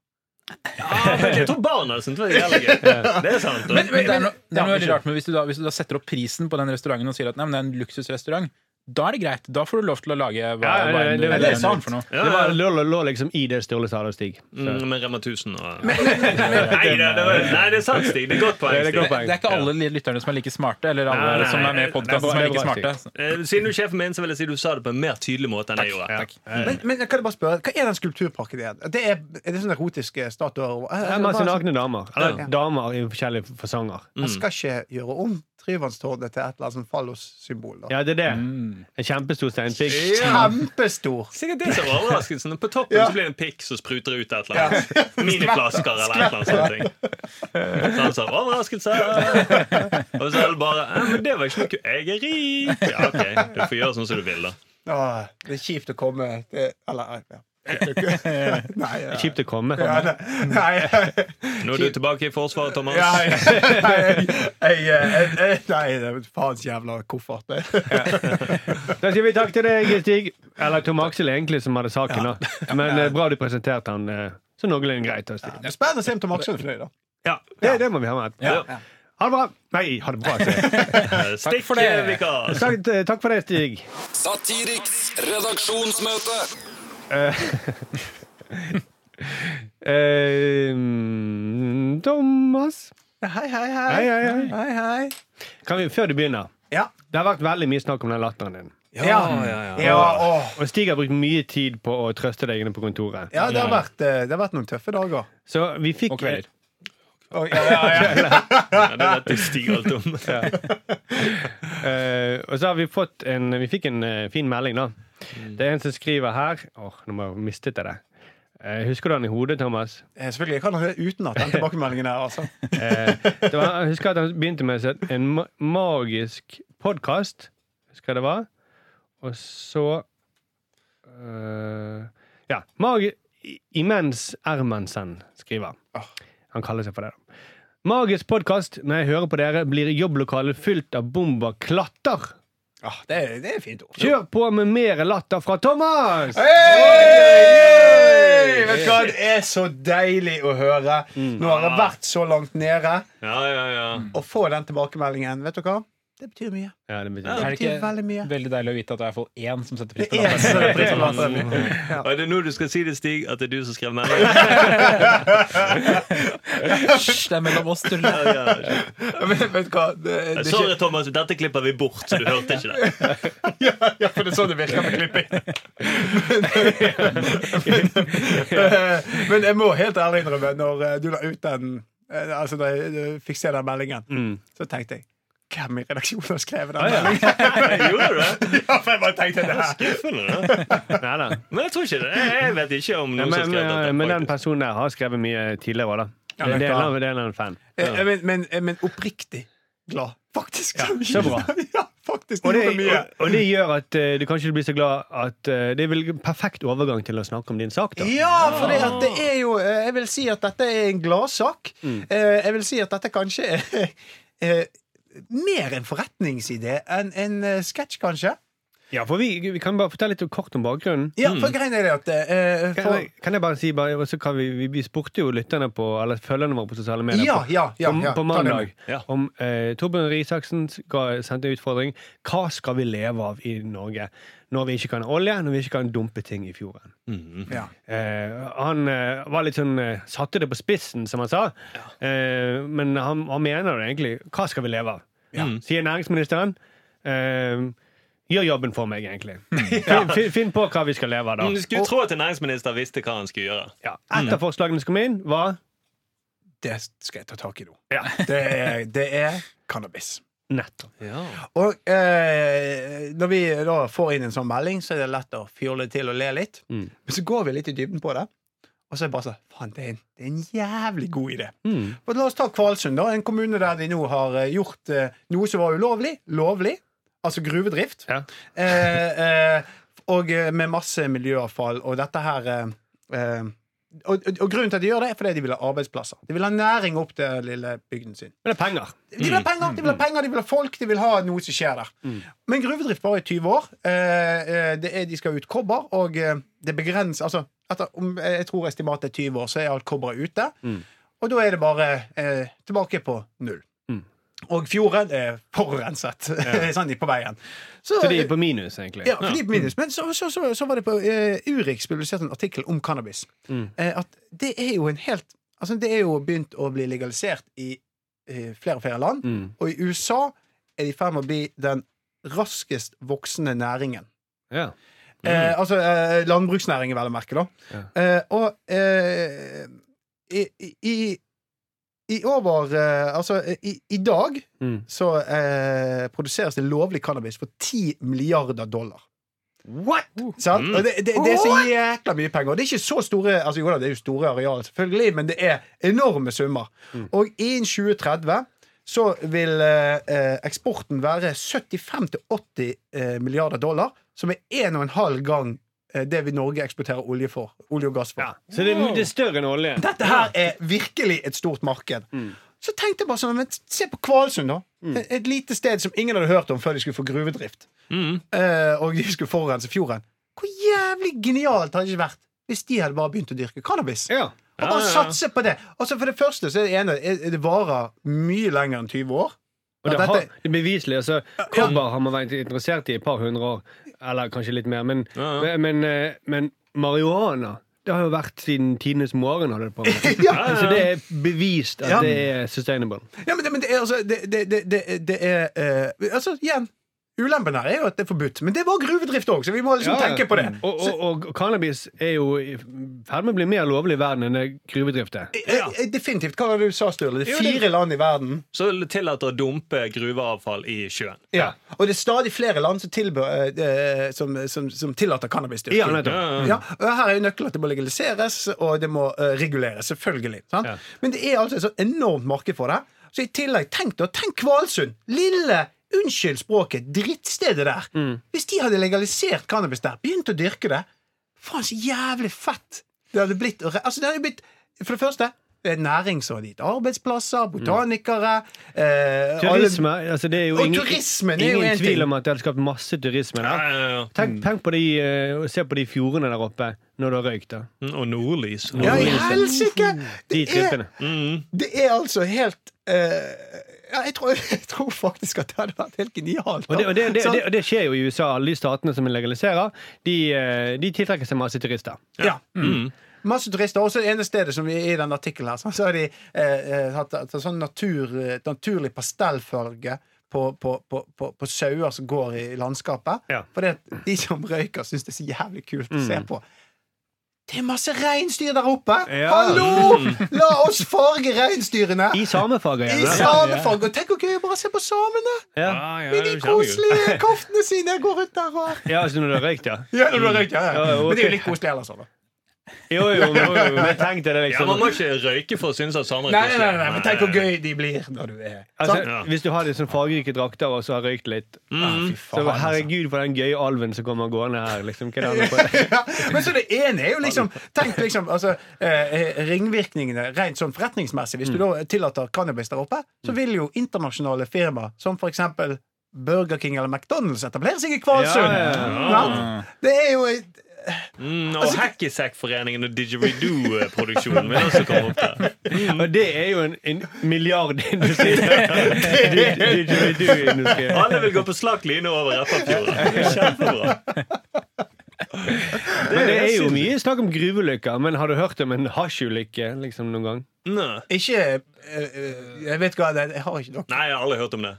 [SPEAKER 5] Ja, men jeg tror barna syntes det var jævlig gøy. Det er sant.
[SPEAKER 3] Men, men, det er noe, det er noe
[SPEAKER 2] Ja,
[SPEAKER 3] veldig rart med hvis du, da, hvis du da setter opp prisen på den restauranten og sier at nei, men det er en luksusrestaurant, da er det greit. Da får du lov til å lage hva,
[SPEAKER 4] Ja, ja,
[SPEAKER 3] hva
[SPEAKER 4] det-
[SPEAKER 3] enn du
[SPEAKER 4] det-
[SPEAKER 3] hva
[SPEAKER 4] det er
[SPEAKER 3] enn du
[SPEAKER 2] sant.
[SPEAKER 3] vil for noe.
[SPEAKER 5] Ja,
[SPEAKER 4] Det
[SPEAKER 5] ja.
[SPEAKER 4] var, lå, lå, lå liksom i det Sturle sa det, Stig. Så-
[SPEAKER 5] Mm, med Rema 1000 og nei, det, det var, nei, det er sant, Stig. Det er godt poeng.
[SPEAKER 4] Det er
[SPEAKER 5] Stig.
[SPEAKER 4] godt
[SPEAKER 3] Det, det er ikke alle lytterne som er like smarte, eller alle
[SPEAKER 5] Nei, nei,
[SPEAKER 3] som er med
[SPEAKER 5] nei,
[SPEAKER 3] i podkasten som
[SPEAKER 4] det
[SPEAKER 3] er
[SPEAKER 4] er
[SPEAKER 3] like
[SPEAKER 4] bra,
[SPEAKER 3] smarte.
[SPEAKER 5] Eh, Siden du er sjefen min, så vil jeg si du sa det på en mer tydelig måte enn jeg gjorde.
[SPEAKER 3] Takk.
[SPEAKER 2] Men, men jeg kan jeg bare spørre, hva er den skulpturparken igjen? Det er, er det sånne erotiske statuer? Jeg,
[SPEAKER 4] Det sånn- er masse nakne damer. Eller
[SPEAKER 2] Ja.
[SPEAKER 4] damer i forskjellige fasonger.
[SPEAKER 5] Mm.
[SPEAKER 2] jeg skal ikke gjøre om Tryvannstårnet til et eller annet sånn fallossymbol. da.
[SPEAKER 4] Ja, det er det. En kjempestor steinpikk.
[SPEAKER 2] Kjempestor!
[SPEAKER 5] Sikkert det som var overraskelsen. På toppen
[SPEAKER 2] Ja.
[SPEAKER 5] så blir det en pikk som spruter ut et eller annet. Miniflasker eller et eller annet sånt. ting. Så han sa 'overraskelse'. Og så er det bare «Eh, 'men det var ikke noe ku- Jeg er rik'. Ja, ok, Du får gjøre sånn som du vil, da.
[SPEAKER 2] Åh, det er kjipt å komme det, Eller ja. Nei, ja.
[SPEAKER 4] Kjipt å komme.
[SPEAKER 2] Ja, nei, nei,
[SPEAKER 5] Nå er du tilbake i Forsvaret, Thomas.
[SPEAKER 2] ja, jeg, jeg, jeg, jeg, jeg, nei, det er faens jævla koffert.
[SPEAKER 4] Da sier vi takk til deg, Stig. Eller Tom Aksel, egentlig, som hadde saken. da Men eh, bra du presenterte han eh, så noenlunde greit. da, Stig.
[SPEAKER 2] Det er Spennende å se om Tom Aksel er fornøyd. da.
[SPEAKER 5] Ja.
[SPEAKER 4] Det, det må vi ha med.
[SPEAKER 5] Ja.
[SPEAKER 4] Ha det bra. Nei, ha det bra. sier jeg.
[SPEAKER 5] Eh, Stikk
[SPEAKER 3] for det.
[SPEAKER 5] vikar.
[SPEAKER 4] Takk, eh, takk for det, Stig.
[SPEAKER 6] Satiriks redaksjonsmøte.
[SPEAKER 4] Eh, mm, Thomas
[SPEAKER 2] Hei, hei,
[SPEAKER 4] Hei, hei, hei.
[SPEAKER 2] Hei, hei.
[SPEAKER 4] Kan vi, Før du begynner.
[SPEAKER 2] Ja.
[SPEAKER 4] Det har vært veldig mye snakk om den latteren din.
[SPEAKER 2] Ja, ja, ja. ja, åh.
[SPEAKER 4] Og Stig har brukt mye tid på å trøste deg inne på kontoret.
[SPEAKER 2] ja det, har vært, eh, det har vært noen tøffe dager.
[SPEAKER 4] Så vi fikk eh,
[SPEAKER 3] Og kvelder.
[SPEAKER 2] Åh, ja, ja, ja.
[SPEAKER 5] Ja, det er dette Stig alt om.
[SPEAKER 4] Eh, og så har vi fått en Vi fikk en eh, fin melding, da. Det er en som skriver her Åh, nå må jeg mistet jeg det. Eh, husker du han i hodet, Thomas?
[SPEAKER 2] Eh, Selvfølgelig. Jeg kan høre utenat den tilbakemeldingen her. altså.
[SPEAKER 4] Eh, det var, jeg husker at han begynte med seg en ma magisk podkast. Husker jeg det var. Og så eh, Ja. Magi I- Imens Ermansen skriver.
[SPEAKER 2] Ah.
[SPEAKER 4] Han kaller seg for det. da. Magisk podkast. Når jeg hører på dere, blir jobblokalet fylt av bomber klatter.
[SPEAKER 2] Ah, det, er, det er fint ord.
[SPEAKER 4] Kjør på med mer latter fra Thomas!
[SPEAKER 2] Hey! Vet du hva, Det er så deilig å høre. Nå har jeg vært så langt nede.
[SPEAKER 5] Ja, ja, ja.
[SPEAKER 2] Å få den tilbakemeldingen, vet du hva? Det betyr mye.
[SPEAKER 4] Ja, det betyr
[SPEAKER 2] Det
[SPEAKER 3] Er det
[SPEAKER 2] betyr
[SPEAKER 3] ikke
[SPEAKER 2] veldig mye.
[SPEAKER 3] veldig deilig å vite at det er i hvert fall én som setter pris
[SPEAKER 2] Det
[SPEAKER 3] på
[SPEAKER 2] er så
[SPEAKER 3] latteren?
[SPEAKER 2] pris på latteren. Ja.
[SPEAKER 5] Og er det nå du skal si det, Stig, at det er du som skrev meldingen?
[SPEAKER 3] Hysj, det er mellom oss, tuller.
[SPEAKER 5] Ja, ja, ja.
[SPEAKER 2] Men vet du hva? Det, det, er
[SPEAKER 5] Sorry, Thomas, dette klipper vi bort, så du hørte ikke det.
[SPEAKER 2] ikke- ja, ja, for det er sånn det virker med klipping. Men, men jeg må helt ærlig innrømme, når eh, du la ut den eh, Altså, da jeg eh, fikk se den meldingen, så tenkte jeg hvem i redaksjonen har skrevet den? meldingen?
[SPEAKER 5] Gjorde du det?
[SPEAKER 2] Ja, for jeg bare tenkte det her.
[SPEAKER 5] Skuffende. da.
[SPEAKER 4] Nei da.
[SPEAKER 5] Men jeg tror ikke det. Jeg jeg vet ikke om
[SPEAKER 4] Men,
[SPEAKER 5] noen som
[SPEAKER 4] men, eh,
[SPEAKER 5] skrev dette.
[SPEAKER 4] men den
[SPEAKER 5] faktisk.
[SPEAKER 4] personen der har skrevet mye tidligere òg, da. Det er en av- det er en av en fan.
[SPEAKER 2] Eh, Men, men, eh, men oppriktig glad. Faktisk.
[SPEAKER 4] så bra.
[SPEAKER 2] ja, faktisk.
[SPEAKER 4] Og det,
[SPEAKER 2] gjorde mye.
[SPEAKER 4] og, og det gjør at eh, du kanskje blir så glad at eh, Det er vel en perfekt overgang til å snakke om din sak, da.
[SPEAKER 2] Ja, for det, at det er jo eh, Jeg vil si at dette er en gladsak. Eh, Jeg vil si at dette kanskje er eh, mer en forretningsidé enn en eh, sketsj, kanskje.
[SPEAKER 4] Ja, for vi, vi kan bare fortelle litt kort om bakgrunnen.
[SPEAKER 2] Ja, for greien Mm. er det at eh,
[SPEAKER 4] Kan
[SPEAKER 2] for,
[SPEAKER 4] jeg, kan jeg bare si bare, og så kan vi, vi- vi spurte jo lytterne på Eller følgerne våre på sosiale medier
[SPEAKER 2] Ja,
[SPEAKER 4] på,
[SPEAKER 2] ja, ja,
[SPEAKER 4] på,
[SPEAKER 2] ja.
[SPEAKER 4] på
[SPEAKER 2] Ta det med.
[SPEAKER 4] mandag
[SPEAKER 5] Ja.
[SPEAKER 4] om eh, Torbjørn Røe Isaksen ga- sendte en utfordring. Hva skal vi leve av i Norge når vi ikke kan olje, når vi ikke kan dumpe ting i fjorden?
[SPEAKER 2] ja.
[SPEAKER 4] Eh, han eh, var litt sånn eh, satte det på spissen, som han sa. Eh, men han, han mener det egentlig. Hva skal vi leve av? Sier næringsministeren. Eh, gjør jobben for meg, egentlig. Finn, finn- finn på hva vi skal leve av, da.
[SPEAKER 5] Du Mm, skulle tro at en næringsminister visste hva han skulle gjøre.
[SPEAKER 4] Ja. Et av forslagene som kom inn, var
[SPEAKER 2] Det skal jeg ta tak i nå. Det, er, det er cannabis.
[SPEAKER 4] nettopp.
[SPEAKER 2] Og eh, når vi da får inn en sånn melding, så er det lett å fjolle til og le litt.
[SPEAKER 4] Mm.
[SPEAKER 2] Men så går vi litt i dybden på det, og så er det bare sånn Faen, det, er en- det er en jævlig god idé.
[SPEAKER 4] Mm.
[SPEAKER 2] Og la oss ta Kvalsund, da. En kommune der de nå har eh, gjort eh, noe som var ulovlig, lovlig. Altså gruvedrift.
[SPEAKER 4] Ja.
[SPEAKER 2] Eh, eh, og eh, med masse miljøavfall. Og dette her eh, eh, og, og, og grunnen til at de gjør det, er fordi de vil ha arbeidsplasser. De vil ha næring opp til lille bygden sin.
[SPEAKER 4] Men det er penger.
[SPEAKER 2] De vil ha penger, Mm. de vil ha penger, de vil ha folk, de vil ha noe som skjer der. Men gruvedrift bare i 20 år. Eh, eh, det er, de skal ut kobber, og eh, det begrenser Altså, etter, om, eh, jeg tror estimatet er 20 år, så er alt kobberet ute. Og da er det bare eh, tilbake på null. Og fjorden er forurenset sånn de er på veien. Så,
[SPEAKER 4] Så de er på minus, egentlig.
[SPEAKER 2] ja, for de er på minus. Men så, så, så, så var det på eh, Urix publisert en artikkel om cannabis. Eh, at det er jo en helt Altså, det er jo begynt å bli legalisert i eh, flere og flere land.
[SPEAKER 4] Mm.
[SPEAKER 2] Og i USA er de i ferd med å bli den raskest voksende næringen.
[SPEAKER 4] Ja.
[SPEAKER 2] Eh, altså eh, landbruksnæringen, vel å merke, da.
[SPEAKER 4] Mm. Ja.
[SPEAKER 2] Eh, og eh, i, i, i over eh, Altså, i, i dag
[SPEAKER 4] Mm.
[SPEAKER 2] så eh, produseres det lovlig cannabis for 10 milliarder dollar.
[SPEAKER 4] What?! Mm.
[SPEAKER 2] Sant? Og det, det, det er så jækla mye penger. Og det er ikke så store altså jo da, det er jo store arealer, selvfølgelig, men det er enorme summer.
[SPEAKER 4] Mm.
[SPEAKER 2] Og innen 2030 så vil eh, eh, eksporten være 75-80 eh, milliarder dollar, som er 1,5 gang eh, det vi i Norge eksporterer olje for. Olje og gass for.
[SPEAKER 4] Så det, er- det er større enn olje.
[SPEAKER 2] Dette her Mm. er virkelig et stort marked. Så tenkte jeg bare sånn, men se på Kvalsund, da. Et- Et lite sted som ingen hadde hørt om før de skulle få gruvedrift. Eh, og de skulle forurense fjorden. Hvor jævlig genialt hadde det ikke vært hvis de hadde bare begynt å dyrke cannabis?
[SPEAKER 4] Ja.
[SPEAKER 2] Og
[SPEAKER 5] Ja,
[SPEAKER 2] bare
[SPEAKER 5] ja, ja.
[SPEAKER 2] satse på det. Og så for det første så er det ene er- det varer mye lenger enn 20 år.
[SPEAKER 4] Og det,
[SPEAKER 2] At
[SPEAKER 4] har,
[SPEAKER 2] dette-
[SPEAKER 4] det er beviselig. Altså, kobber har man vært interessert i i et par hundre år. Eller kanskje litt mer. Men,
[SPEAKER 5] Ja,
[SPEAKER 4] men, eh, men marihuana det har jo vært siden tidenes morgen. Holdt jeg på med.
[SPEAKER 2] Ja.
[SPEAKER 4] Så det er bevist at
[SPEAKER 2] Ja.
[SPEAKER 4] det er sustainable.
[SPEAKER 2] Ja, men det, men det er altså Det, det, det, det, det er eh, Altså, igjen. Ulempen her er jo at det er forbudt. Men det var gruvedrift òg, så vi må liksom
[SPEAKER 4] Ja, ja.
[SPEAKER 2] tenke på det.
[SPEAKER 4] Og, og, og cannabis er jo i ferd med å bli mer lovlig i verden enn det gruvedrift er.
[SPEAKER 5] Ja.
[SPEAKER 2] Eh, eh, Definitivt. Hva var det du sa, Sturle? Det er
[SPEAKER 5] Jo, det-
[SPEAKER 2] fire land i verden.
[SPEAKER 5] Så tillater å dumpe gruveavfall i sjøen.
[SPEAKER 4] Ja.
[SPEAKER 2] Og det er stadig flere land som, tilbø- eh, eh, som, som, som tillater cannabisdyrking.
[SPEAKER 4] Ja, nettopp.
[SPEAKER 2] Ja, og her er jo nøkkelen at det må legaliseres, og det må eh, reguleres. Selvfølgelig. Sant?
[SPEAKER 4] Ja.
[SPEAKER 2] Men det er altså et så enormt marked for det. Så i tillegg, tenk da, tenk Kvalsund! Lille, unnskyld språket, drittstedet der.
[SPEAKER 4] Mm.
[SPEAKER 2] Hvis de hadde legalisert cannabis der, begynt å dyrke det Faen, så jævlig fett det hadde blitt. å re- Altså, det hadde blitt For det første, det er næring som har gitt arbeidsplasser, botanikere eh,
[SPEAKER 4] Turisme, altså det er jo
[SPEAKER 2] Og
[SPEAKER 4] ingen,
[SPEAKER 2] turismen er jo
[SPEAKER 4] ingen
[SPEAKER 2] en
[SPEAKER 4] tvil
[SPEAKER 2] ting.
[SPEAKER 4] om at det hadde skapt masse turisme
[SPEAKER 5] Ja,
[SPEAKER 4] der.
[SPEAKER 5] ja, ja.
[SPEAKER 4] Tenk, tenk på de, eh, og se på de fjordene der oppe når det har røykt. da.
[SPEAKER 5] Mm, Og nordlys. Mm.
[SPEAKER 2] Alle, ja, i
[SPEAKER 4] turisme.
[SPEAKER 2] helsike!
[SPEAKER 4] De
[SPEAKER 2] Det er
[SPEAKER 4] trippene.
[SPEAKER 2] Det er altså helt eh, ja, jeg, tror, jeg tror faktisk at det hadde vært helt genialt. da.
[SPEAKER 4] Og det, og, det, det,
[SPEAKER 2] Sant?
[SPEAKER 4] det, og det skjer jo i USA. Alle de statene som legaliserer, de, eh, de tiltrekker seg masse turister.
[SPEAKER 2] ja.
[SPEAKER 4] Mm.
[SPEAKER 2] Mm. Masse turister. Også det ene stedet som vi i den artikkelen her, sant, så har de eh, eh, hatt hatt sånn natur, et naturlig pastellfarge på, på, på, på, på sauer som går i landskapet.
[SPEAKER 4] Ja. Mm.
[SPEAKER 2] For de som røyker, syns det er så jævlig kult å se på. Det er masse reinsdyr der oppe!
[SPEAKER 4] Ja. Mm.
[SPEAKER 2] Hallo! La oss farge reinsdyrene!
[SPEAKER 4] I samefaget.
[SPEAKER 2] I
[SPEAKER 4] gjerne.
[SPEAKER 2] samefarge! Og tenk hvor gøy å bare se på samene!
[SPEAKER 4] Ja.
[SPEAKER 2] Med de koselige koftene sine går rundt der og
[SPEAKER 4] ja, altså når det har røykt, ja.
[SPEAKER 2] Ja, når du har røykt, ja, ja.
[SPEAKER 4] Ja, ja, ok.
[SPEAKER 2] Men det er jo litt koselig ellers òg, da.
[SPEAKER 4] Jo, jo, jo, jo, men tenk deg det,
[SPEAKER 5] Ja, Man
[SPEAKER 4] liksom.
[SPEAKER 5] må ikke røyke for å synes at Sandra er
[SPEAKER 2] Nei, nei,
[SPEAKER 5] koselig.
[SPEAKER 2] nei, nei, men tenk hvor gøy de blir når du er
[SPEAKER 4] Altså,
[SPEAKER 5] Ja.
[SPEAKER 4] Hvis du har de sånn fargerike drakter og så har røykt litt
[SPEAKER 2] Ah, fy
[SPEAKER 4] Så
[SPEAKER 2] faen, altså.
[SPEAKER 4] herregud for den gøye alven som kommer gående her. Liksom. Hva er det han har på?
[SPEAKER 2] ja, men så det ene er jo liksom Tenk liksom, altså eh, Ringvirkningene rent sånn forretningsmessig Hvis du da tillater cannabis der oppe Så vil jo internasjonale firma Som for eksempel Burger King eller McDonalds Etablere seg i Kvalsund
[SPEAKER 4] Ja, ja,
[SPEAKER 2] Sant? Det er jo et-
[SPEAKER 5] Mm,
[SPEAKER 2] Altså,
[SPEAKER 5] og Hackysack-foreningen og Didgeridoo-produksjonen vil også komme opp der.
[SPEAKER 4] Og det er jo en, en milliardindustri. Du- du- du- du- industri.
[SPEAKER 5] Alle vil gå på slak line over Repparfjorden. Det er Kjempebra.
[SPEAKER 4] Men det er jo mye snakk om gruveulykker. Men har du hørt om en hasjulykke liksom, noen gang?
[SPEAKER 5] Nei,
[SPEAKER 2] Ikke eh, eh, Jeg vet ikke hva det er Jeg har ikke nok
[SPEAKER 5] Nei, jeg har aldri hørt om det.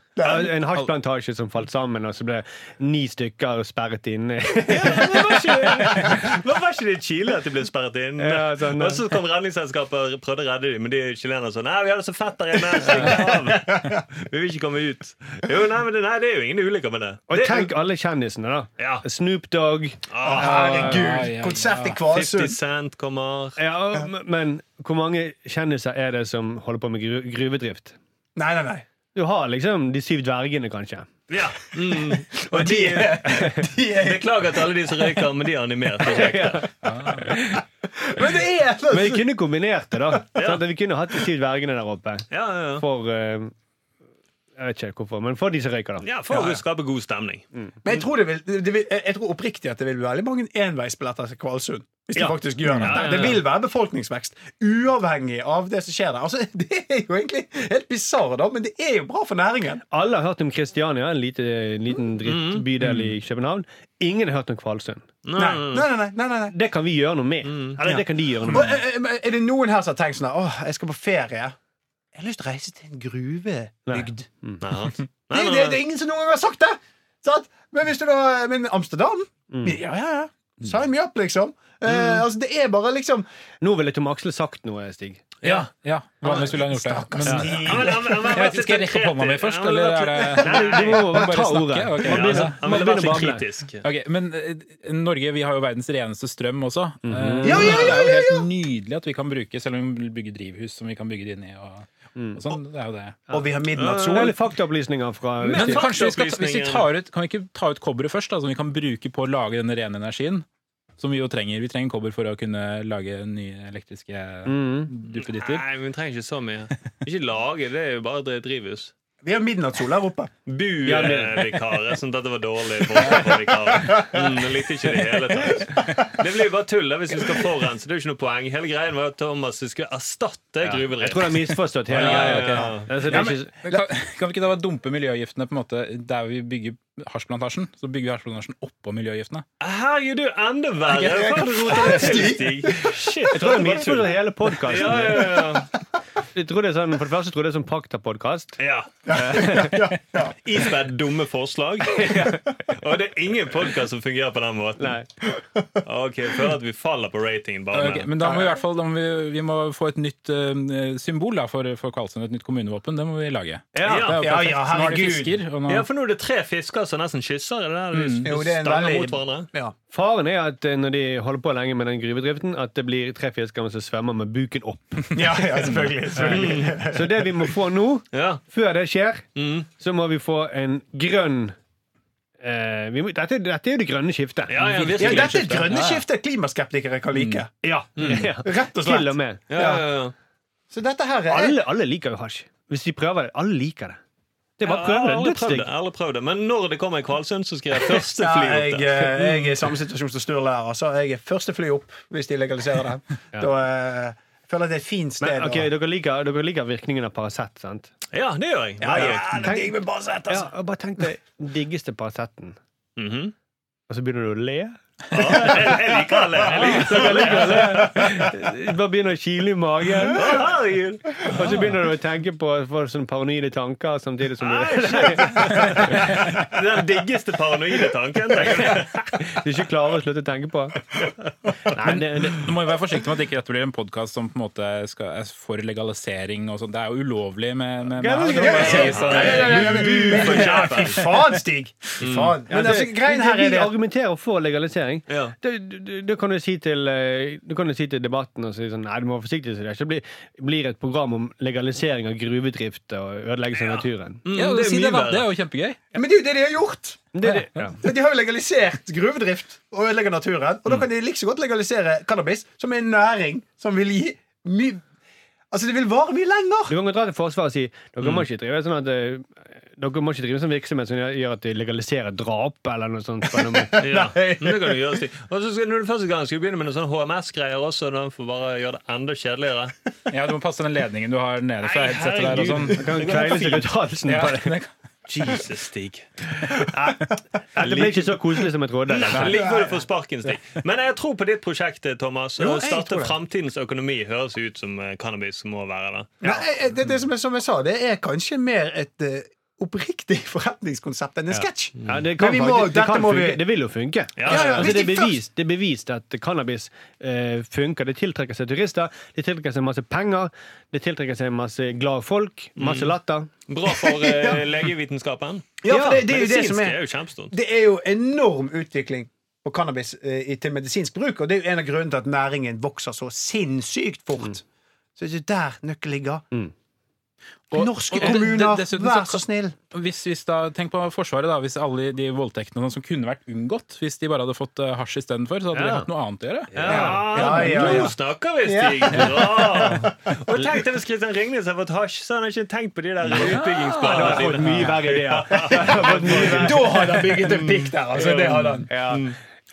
[SPEAKER 4] En hasjplantasje som falt sammen, og så ble ni stykker sperret inne.
[SPEAKER 5] Men var ikke det, men var ikke det i Chile at de ble sperret inn?
[SPEAKER 4] Ja, sånn, ja.
[SPEAKER 5] og så kom redningsselskapet og prøvde å redde dem, men de chilenerne sa nei, vi har det så fett der inne. stikk av. Vi vil ikke komme ut. Jo, nei, men det, nei, det er jo ingen ulykker med det.
[SPEAKER 4] Og
[SPEAKER 5] det
[SPEAKER 4] tenk alle kjendisene, da.
[SPEAKER 5] Ja.
[SPEAKER 4] Snoop Dogg.
[SPEAKER 5] Ah,
[SPEAKER 3] Ja, ja,
[SPEAKER 2] Herregud
[SPEAKER 3] ja.
[SPEAKER 2] Konsert i
[SPEAKER 5] 50
[SPEAKER 2] Kvalsund
[SPEAKER 5] Cent kommer.
[SPEAKER 4] Ja, m- men hvor mange kjendiser er det som holder på med gru gruvedrift?
[SPEAKER 2] Nei, nei, nei
[SPEAKER 4] Du har liksom De syv dvergene, kanskje.
[SPEAKER 5] Ja. Mm. Og de,
[SPEAKER 2] De er
[SPEAKER 5] Beklager til alle de som røyker, men de er animert. Det er ikke ekte.
[SPEAKER 2] Men det er
[SPEAKER 4] Men vi kunne kombinert det, da. Sånn at vi kunne hatt de syv dvergene der oppe.
[SPEAKER 5] Ja, ja, ja.
[SPEAKER 4] For eh, Jeg vet ikke hvorfor, men for de som røyker, da.
[SPEAKER 5] Ja, for å skape god stemning.
[SPEAKER 2] Men jeg tror, det vil, det vil, jeg jeg tror oppriktig at det vil bli veldig mange enveisbilletter til Kvalsund. Hvis de
[SPEAKER 5] Ja.
[SPEAKER 2] faktisk gjør det.
[SPEAKER 5] Ja, ja, ja.
[SPEAKER 2] Det vil være befolkningsvekst, uavhengig av det som skjer der. Altså, det er jo egentlig helt bisarr, da, men det er jo bra for næringen.
[SPEAKER 4] Alle har hørt om Kristiania, en lite, liten drittbydel i København. Ingen har hørt om Kvalsund.
[SPEAKER 2] Nei, nei, nei. nei, nei, nei.
[SPEAKER 4] Det kan vi gjøre noe med.
[SPEAKER 5] Mm.
[SPEAKER 4] Eller det kan de gjøre noe
[SPEAKER 2] Og,
[SPEAKER 4] med.
[SPEAKER 2] eh, eh, er det noen her som har tenkt sånn her, Åh, jeg skal på ferie. Jeg har lyst til å reise til en gruvebygd.
[SPEAKER 5] Nei, sant? Nei,
[SPEAKER 2] Det, det,
[SPEAKER 5] nei,
[SPEAKER 2] det
[SPEAKER 5] nei.
[SPEAKER 2] er ingen som noen gang har sagt det! Sant? Men hvis du da Men Amsterdam? Ja, ja, ja. Sign me up, liksom. Eh, altså, det er bare liksom
[SPEAKER 4] Nå ville Tom Aksle sagt noe, Stig.
[SPEAKER 3] Ja, ja. Vanligvis ville han gjort det.
[SPEAKER 2] Stakkars
[SPEAKER 3] Men,
[SPEAKER 2] Stig.
[SPEAKER 5] Ja, men han- han- han-
[SPEAKER 3] jeg vet ikke, skal jeg rekke opp hånda mi først,
[SPEAKER 5] Ja, men
[SPEAKER 3] eller
[SPEAKER 5] det
[SPEAKER 3] er
[SPEAKER 5] var-
[SPEAKER 3] det
[SPEAKER 4] Nei, du må
[SPEAKER 3] Bare
[SPEAKER 4] bare ta
[SPEAKER 3] snakke,
[SPEAKER 4] ordet.
[SPEAKER 3] ok.
[SPEAKER 4] Man
[SPEAKER 3] Ja,
[SPEAKER 4] begynner, man
[SPEAKER 5] Han ville vært
[SPEAKER 4] begynner
[SPEAKER 5] så
[SPEAKER 4] bare med.
[SPEAKER 5] kritisk.
[SPEAKER 3] Ok, Men eh, Norge vi har jo verdens reneste strøm også. Eh,
[SPEAKER 2] Mhm. Ja, ja, ja,
[SPEAKER 3] Det er jo
[SPEAKER 2] ja,
[SPEAKER 3] helt nydelig at vi kan bruke, selv om vi vil bygge drivhus som vi kan bygge de ned og,
[SPEAKER 2] Mm.
[SPEAKER 3] og sånn. Det er jo det.
[SPEAKER 2] Og vi har
[SPEAKER 4] Det er
[SPEAKER 2] midnattssol.
[SPEAKER 4] litt faktaopplysninger fra
[SPEAKER 3] Men
[SPEAKER 5] faktisk
[SPEAKER 3] kanskje vi skal, ta- hvis vi
[SPEAKER 5] opplysningen-
[SPEAKER 3] tar ut, Kan vi ikke ta ut kobberet først, da, som vi kan bruke på å lage denne rene energien? Som vi jo trenger. Vi trenger kobber for å kunne lage nye elektriske
[SPEAKER 2] Mm.
[SPEAKER 4] Mm.
[SPEAKER 3] duppeditter.
[SPEAKER 5] Nei, men vi trenger ikke så mye. Ikke lage, det er jo bare dri- drivhus.
[SPEAKER 2] Vi har midnattssol her oppe.
[SPEAKER 5] Bu-vikarer. Jeg syntes dette sånn var dårlig. form for vikarer. Mm, jeg likte ikke det i hele tatt. Det blir jo bare tull da, hvis vi skal forurense. Det er jo ikke noe poeng. Hele greien var at Thomas skulle erstatte
[SPEAKER 4] Jeg tror
[SPEAKER 5] gruvedrift.
[SPEAKER 4] det er misforstått hele
[SPEAKER 5] Ja, ja,
[SPEAKER 4] greia.
[SPEAKER 5] ja.
[SPEAKER 4] Altså, det
[SPEAKER 3] Ja,
[SPEAKER 4] er
[SPEAKER 3] men,
[SPEAKER 4] ikke-
[SPEAKER 3] kan, kan vi ikke da dumpe miljøgiftene på en måte der vi bygger hasjplantasjen? Så bygger vi hasjplantasjen oppå miljøgiftene.
[SPEAKER 5] Herregud, du er enda verre! Hva har du rotet det til, Stig? Shit,
[SPEAKER 4] Jeg tror det er
[SPEAKER 5] bare tull.
[SPEAKER 4] misforstått hele podkasten.
[SPEAKER 5] Ja, ja, ja.
[SPEAKER 4] Jeg tror det er sånn, for det første tror jeg det er sånn Pakta-podkast.
[SPEAKER 5] ja. Ispedd dumme forslag. Og det er ingen podkast som fungerer på den måten.
[SPEAKER 4] Nei.
[SPEAKER 5] Ok, jeg føler at vi faller på ratingen bare
[SPEAKER 3] Ok, men da må vi i hvert fall da må vi, vi må få et nytt eh, symbol da, for, for Karlsson. Et nytt kommunevåpen. Det må vi lage. Det
[SPEAKER 5] Ja.
[SPEAKER 3] er jo
[SPEAKER 2] Ja,
[SPEAKER 3] perfekt.
[SPEAKER 2] ja,
[SPEAKER 3] Nå har de
[SPEAKER 2] herregud.
[SPEAKER 3] fisker, og nå,
[SPEAKER 5] Ja, for nå er det tre fisker som nesten kysser. Er det der?
[SPEAKER 2] Jo,
[SPEAKER 5] De
[SPEAKER 2] det er en
[SPEAKER 5] stanger
[SPEAKER 2] veldig-
[SPEAKER 5] mot hverandre.
[SPEAKER 2] Ja.
[SPEAKER 4] Faren er at eh, når de holder på lenge med den gruvedriften, at det blir tre fisker som svømmer med buken opp.
[SPEAKER 2] Ja, ja, selvfølgelig. selvfølgelig.
[SPEAKER 4] Så det vi må få nå,
[SPEAKER 5] Ja.
[SPEAKER 4] før det skjer,
[SPEAKER 5] Mm.
[SPEAKER 4] så må vi få en grønn eh, vi må, dette, dette er jo det grønne skiftet.
[SPEAKER 5] Ja, ja,
[SPEAKER 2] Ja,
[SPEAKER 5] virkelig.
[SPEAKER 2] dette er et grønne skifte klimaskeptikere kan like.
[SPEAKER 4] Ja. Ja.
[SPEAKER 5] Mm.
[SPEAKER 2] Rett og
[SPEAKER 4] Til og
[SPEAKER 2] slett.
[SPEAKER 4] med.
[SPEAKER 5] Ja, ja, ja.
[SPEAKER 2] Så dette her er
[SPEAKER 4] Alle, alle liker jo hasj. Hvis de prøver det. Alle liker det. Det er
[SPEAKER 5] Jeg
[SPEAKER 4] bare å
[SPEAKER 5] har
[SPEAKER 4] prøve det.
[SPEAKER 5] aldri prøvd
[SPEAKER 4] Dødsdigg.
[SPEAKER 5] det. jeg har aldri prøvd det. Men når det kommer i Kvalsund, så skal jeg første
[SPEAKER 2] ja,
[SPEAKER 5] fly
[SPEAKER 2] jeg,
[SPEAKER 5] opp der.
[SPEAKER 2] eh, jeg er i samme situasjon som Sturle her. Altså. Jeg er første fly opp hvis de legaliserer det. Da eh, føler jeg det er et fint sted.
[SPEAKER 4] Men, ok,
[SPEAKER 2] å-
[SPEAKER 4] dere, liker, dere liker virkningen av Paracet, sant?
[SPEAKER 5] Ja, det gjør jeg.
[SPEAKER 2] ja,
[SPEAKER 5] Veldig
[SPEAKER 2] ja,
[SPEAKER 5] godt.
[SPEAKER 2] det er digg med Basett, altså.
[SPEAKER 4] Ja, bare tenk deg den diggeste Paraceten.
[SPEAKER 5] Mhm.
[SPEAKER 4] Og så begynner du å le.
[SPEAKER 5] Ja, jeg, jeg liker alle. Jeg liker alle.
[SPEAKER 4] Bare begynner å kile i magen.
[SPEAKER 5] Å, herregud.
[SPEAKER 4] Og så begynner du å tenke på få sånne paranoide tanker samtidig som du,
[SPEAKER 5] Den diggeste paranoide tanken. tenker jeg.
[SPEAKER 4] du ikke klarer å slutte å tenke på. Nei, det, det,
[SPEAKER 3] Nå må vi være forsiktige med at det ikke dette blir en podkast som på en måte skal, er for legalisering. og sånn. Det er jo ulovlig med, med,
[SPEAKER 4] Ja, men-
[SPEAKER 3] med, med, med,
[SPEAKER 2] Ja, ja, ja, ja, ja, ja, men-
[SPEAKER 5] Bu for
[SPEAKER 2] Ja, Fy Mm.
[SPEAKER 5] kjæpen.
[SPEAKER 2] faen, Stig! Fy faen. Men altså, greien her er
[SPEAKER 4] vi
[SPEAKER 2] det at
[SPEAKER 4] argumenterer for diskriminering.
[SPEAKER 5] Ja.
[SPEAKER 4] Det, det, det kan du si til, eh, du kan jo si til debatten og si sånn, nei, du må være forsiktig så det ikke blir, blir et program om legalisering av gruvedrift og ødeleggelse av naturen.
[SPEAKER 5] Mm,
[SPEAKER 3] Ja, det,
[SPEAKER 5] det er
[SPEAKER 3] si det,
[SPEAKER 5] mye
[SPEAKER 3] da. det
[SPEAKER 5] verre.
[SPEAKER 3] er jo kjempegøy.
[SPEAKER 2] Ja, Men det er jo det de har gjort!
[SPEAKER 4] Det, er det, ja.
[SPEAKER 2] De har jo legalisert gruvedrift og ødelegger naturen. Og da kan de like så godt legalisere cannabis, som er en næring som vil gi mye Altså, det vil vare mye lenger!
[SPEAKER 4] Du kan godt dra til Forsvaret og si dere må ikke drive sånn at eh, dere må ikke drive sånn virksomhet som gjør- gjør at de legaliserer drap eller noe sånt. på noe måte.»
[SPEAKER 5] Ja, men det kan du gjøre Stig. Og så skal, når du første gang skal du begynne med sånn noen sånne HMS-greier også. Da får bare gjøre det enda kjedeligere.
[SPEAKER 3] Ja, Du må passe den ledningen du har nede fra
[SPEAKER 5] Nei,
[SPEAKER 3] headsetet der. og sånn
[SPEAKER 4] Det kan kveile seg ut halsen
[SPEAKER 3] ja,
[SPEAKER 4] på det.
[SPEAKER 3] det kan-
[SPEAKER 5] Jesus, Stig.
[SPEAKER 4] Dette ble ikke så koselig som jeg trodde.
[SPEAKER 5] Ligg hvor du får sparken, Stig. Men jeg tror på ditt prosjekt, Thomas.
[SPEAKER 2] Jo,
[SPEAKER 5] Å
[SPEAKER 2] jeg
[SPEAKER 5] starte
[SPEAKER 2] tror det.
[SPEAKER 5] framtidens økonomi høres ut som eh, cannabis må være det.
[SPEAKER 2] Nei, eh, det, det som, jeg, som jeg sa, det er kanskje mer et eh, oppriktig forretningskonsept enn en sketsj.
[SPEAKER 5] Mm.
[SPEAKER 4] Ja, det, kan
[SPEAKER 2] Men vi må-
[SPEAKER 4] faktisk, det,
[SPEAKER 2] dette
[SPEAKER 4] kan
[SPEAKER 2] må vi-
[SPEAKER 4] funke. det vil jo funke.
[SPEAKER 5] Ja, ja, ja.
[SPEAKER 4] Altså, det, er
[SPEAKER 2] Hvis de først-
[SPEAKER 4] bevist, det er bevist at cannabis eh, funker. Det tiltrekker seg turister, det tiltrekker seg masse penger, det tiltrekker seg masse glade folk,
[SPEAKER 5] Mm.
[SPEAKER 4] masse latter.
[SPEAKER 5] Bra for eh, legevitenskapen.
[SPEAKER 2] Ja, for det, det er jo det
[SPEAKER 5] Medisinsk
[SPEAKER 2] som
[SPEAKER 5] er
[SPEAKER 2] er
[SPEAKER 5] jo kjempestort.
[SPEAKER 2] Det er jo enorm utvikling på cannabis eh, i- til medisinsk bruk, og det er jo en av grunnene til at næringen vokser så sinnssykt fort. Så det er der nøkkelen ligger.
[SPEAKER 3] Og-
[SPEAKER 2] Norske
[SPEAKER 3] og- og-
[SPEAKER 2] kommuner,
[SPEAKER 3] det- dessuten
[SPEAKER 2] vær så snill!
[SPEAKER 3] Hvis, hvis da, tenk på Forsvaret, da. Hvis alle de voldtektene og sånn som kunne vært unngått hvis de bare hadde fått eh, hasj istedenfor, så hadde de
[SPEAKER 5] Ja.
[SPEAKER 3] hatt noe annet å gjøre.
[SPEAKER 5] Ja,
[SPEAKER 2] Ja, ja, ja.
[SPEAKER 5] Nå snakker vi, Stig! Bra! Og tenk deg hvis Kristian Ringnes har fått hasj, så har han ikke tenkt på de der
[SPEAKER 4] Da har jeg
[SPEAKER 5] utbyggingsplanene
[SPEAKER 4] fått
[SPEAKER 5] sine.
[SPEAKER 4] mye verre ideer. Jeg har fått mye verre-
[SPEAKER 2] Da hadde han bygget en pikk der, altså. Det hadde han.
[SPEAKER 4] Ja.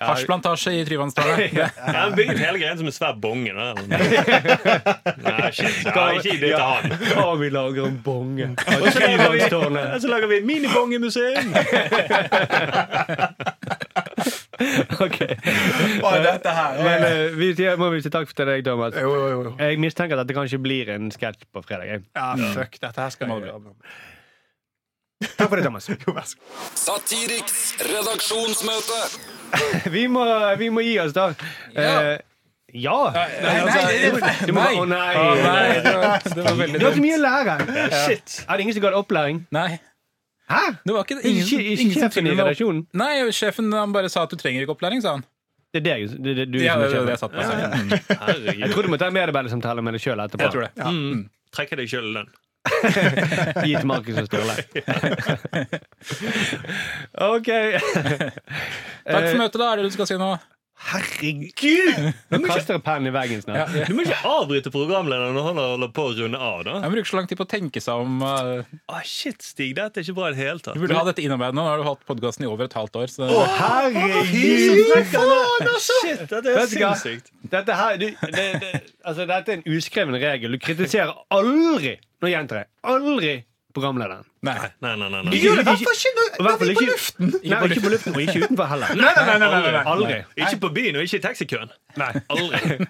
[SPEAKER 3] Hasjplantasje i Tryvannsdalen.
[SPEAKER 5] Ja, han bygget hele greia som en svær bonge. da. Nei, shit. Ja, ikke idé til han.
[SPEAKER 4] Å, vi lager en bonge.
[SPEAKER 5] Og så lager vi,
[SPEAKER 4] Tryvannstårnet.
[SPEAKER 5] og så lager vi et minibongemuseum!
[SPEAKER 4] Ok.
[SPEAKER 2] Å, dette her.
[SPEAKER 4] Men eh, vi sier- må vi si takk til deg, Thomas.
[SPEAKER 2] Jo, jo, jo.
[SPEAKER 4] Jeg mistenker at det kanskje blir en sketsj på fredag. jeg.
[SPEAKER 2] Ja, fuck, dette her skal jeg gjøre.
[SPEAKER 4] Takk for det, Thomas.
[SPEAKER 2] Jo, vær så god.
[SPEAKER 6] Satiriks redaksjonsmøte.
[SPEAKER 4] Vi må, vi må gi oss, da. Eh, ja. altså, Du må, å nei.
[SPEAKER 3] Å, nei, det var, det var veldig
[SPEAKER 4] Du har så
[SPEAKER 3] dumt.
[SPEAKER 4] mye å lære. Shit. Er det ingen som ga deg opplæring?
[SPEAKER 3] Nei.
[SPEAKER 4] Hæ?
[SPEAKER 3] Det var ikke, ingen,
[SPEAKER 4] Ikke, ikke
[SPEAKER 3] ingen som
[SPEAKER 4] sjefen i
[SPEAKER 3] tilbød meg opp-
[SPEAKER 4] redaksjonen?
[SPEAKER 3] Nei, sjefen han bare sa at du trenger ikke opplæring, sa han.
[SPEAKER 4] Det er deg. Det, det, du
[SPEAKER 3] Ja,
[SPEAKER 4] som
[SPEAKER 3] det,
[SPEAKER 4] er
[SPEAKER 3] det, det
[SPEAKER 4] sjefen.
[SPEAKER 3] satt meg selv. Mm,
[SPEAKER 5] Herregud.
[SPEAKER 4] Jeg tror du må ta en medarbeidersamtale med deg sjøl etterpå.
[SPEAKER 3] Jeg tror det.
[SPEAKER 5] Mm. Trekker deg sjøl i lønn.
[SPEAKER 4] Gi til Markus og Sturle. OK.
[SPEAKER 3] Takk
[SPEAKER 4] Eh,
[SPEAKER 3] for møtet, da. Er det det du skal si nå?
[SPEAKER 4] Herregud! Nå kaster jeg pennen i veggen
[SPEAKER 3] Ja,
[SPEAKER 4] snart.
[SPEAKER 3] ja.
[SPEAKER 5] Du må ikke avbryte programlederen når han holder på å runde av. da
[SPEAKER 3] Jeg bruker så lang tid på å tenke seg om. eh,
[SPEAKER 5] ah, Shit, Stig, dette er ikke bra i det hele tatt.
[SPEAKER 3] Du burde ha dette innarbeidet nå. Nå har du hatt podkasten i over et halvt år. Så
[SPEAKER 4] Herregud!
[SPEAKER 5] Shit, dette er
[SPEAKER 4] Vet du hva?
[SPEAKER 5] sinnssykt.
[SPEAKER 4] Dette, her, du, det, det, altså, dette er en uskreven regel. Du kritiserer aldri Nå gjentar jeg aldri programlederen.
[SPEAKER 3] nei.
[SPEAKER 5] Nei, nei, nei.
[SPEAKER 2] Du
[SPEAKER 5] nei.
[SPEAKER 2] gjør det i hvert fall ikke når-
[SPEAKER 4] Og i
[SPEAKER 2] når
[SPEAKER 4] hvert fall
[SPEAKER 2] vi er på
[SPEAKER 4] ikke-
[SPEAKER 2] luften!
[SPEAKER 4] Nei, ikke på luften, og ikke utenfor heller.
[SPEAKER 2] Nei, nei, nei, nei, nei, nei.
[SPEAKER 4] Aldri.
[SPEAKER 5] Ikke på byen og ikke i taxikøen.
[SPEAKER 4] Nei.
[SPEAKER 5] Aldri.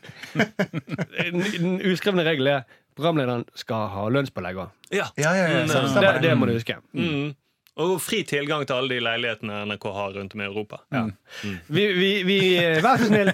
[SPEAKER 4] Den den uskrevne regelen er programlederen skal ha lønnspålegg òg.
[SPEAKER 5] Ja.
[SPEAKER 2] Ja, ja, ja.
[SPEAKER 5] Mm.
[SPEAKER 4] Det,
[SPEAKER 2] stemmer det.
[SPEAKER 4] det må du huske.
[SPEAKER 5] Mm. Og fri tilgang til alle de leilighetene NRK har rundt om i Europa.
[SPEAKER 4] Vi, vi, vi, vær så snill.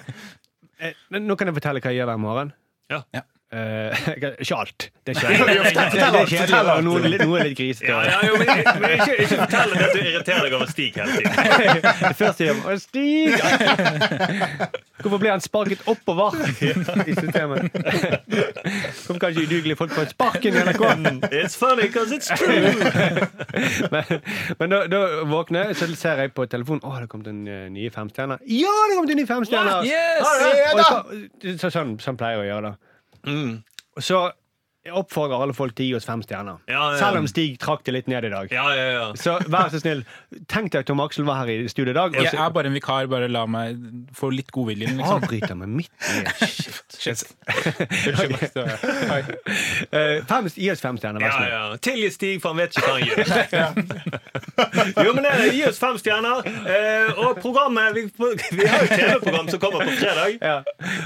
[SPEAKER 4] Eh, Nå kan jeg fortelle hva jeg gjør hver morgen.
[SPEAKER 5] Ja.
[SPEAKER 3] Ja.
[SPEAKER 4] Eh, ikke alt. Det er
[SPEAKER 5] Ja, ja,
[SPEAKER 4] kjedelig.
[SPEAKER 5] fortell,
[SPEAKER 4] Det er kjedelig,
[SPEAKER 2] fortell alt.
[SPEAKER 4] og noe er litt- noe er litt grisete.
[SPEAKER 5] Ja, ja, jo, men, men ikke, ikke fortell deg at du irriterer deg over Stig hele tiden.
[SPEAKER 4] Det første jeg gjør, er Stig! Hvorfor ble han sparket oppover i systemet? Kom kanskje udugelige folk på en sparken i NRK.
[SPEAKER 5] It's funny because it's true.
[SPEAKER 4] Men, men da, da våkner jeg, så ser jeg på telefonen Å, det kom til en eh, nye femstjerner. Ja, det kom til en ny femstjerner!
[SPEAKER 3] Yes!
[SPEAKER 2] Ja,
[SPEAKER 4] Og
[SPEAKER 2] da.
[SPEAKER 4] så, så, sånn, sånn pleier jeg å gjøre det. Og så jeg oppfordrer alle folk til å gi oss fem stjerner.
[SPEAKER 5] Ja, ja.
[SPEAKER 4] Selv om Stig trakk det litt ned i dag.
[SPEAKER 5] Ja, ja, ja.
[SPEAKER 4] Så vær så snill, tenk deg at Tom Aksel var her i studio i dag. Og
[SPEAKER 3] Jeg
[SPEAKER 4] så,
[SPEAKER 3] er bare en vikar. Bare la meg få litt godviljen, liksom.
[SPEAKER 4] avbryter meg midt i
[SPEAKER 3] Shit. Unnskyld, Max, det var jeg. Oi.
[SPEAKER 4] Eh, fem, Gi oss fem stjerner, vær så
[SPEAKER 5] Ja,
[SPEAKER 4] snill.
[SPEAKER 5] ja. Tilgi Stig, for han vet ikke hva han gjør. Jo, men det, er- Gi oss fem stjerner. Eh, og programmet Vi, vi har jo TV-program som kommer på fredag.
[SPEAKER 4] Ja.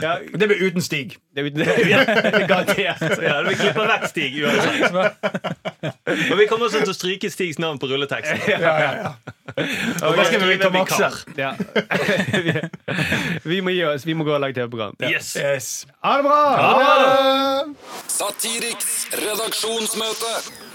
[SPEAKER 4] Ja,
[SPEAKER 2] Det blir uten Stig.
[SPEAKER 4] det er jo- det er garantert.
[SPEAKER 5] Så ja, Vi klipper vekk Stig uansett. Og vi kommer også til å stryke Stigs navn på rulleteksten.
[SPEAKER 2] Ja, ja, ja. Og da skal vi
[SPEAKER 5] Skrive
[SPEAKER 2] vite om
[SPEAKER 5] vikar.
[SPEAKER 2] Aksel.
[SPEAKER 4] Ja. Vi må gi oss. Vi må gå og lage TV-program.
[SPEAKER 5] Yes.
[SPEAKER 2] Yes.
[SPEAKER 4] Ha det bra!
[SPEAKER 5] Ha det!
[SPEAKER 6] Satiriks redaksjonsmøte.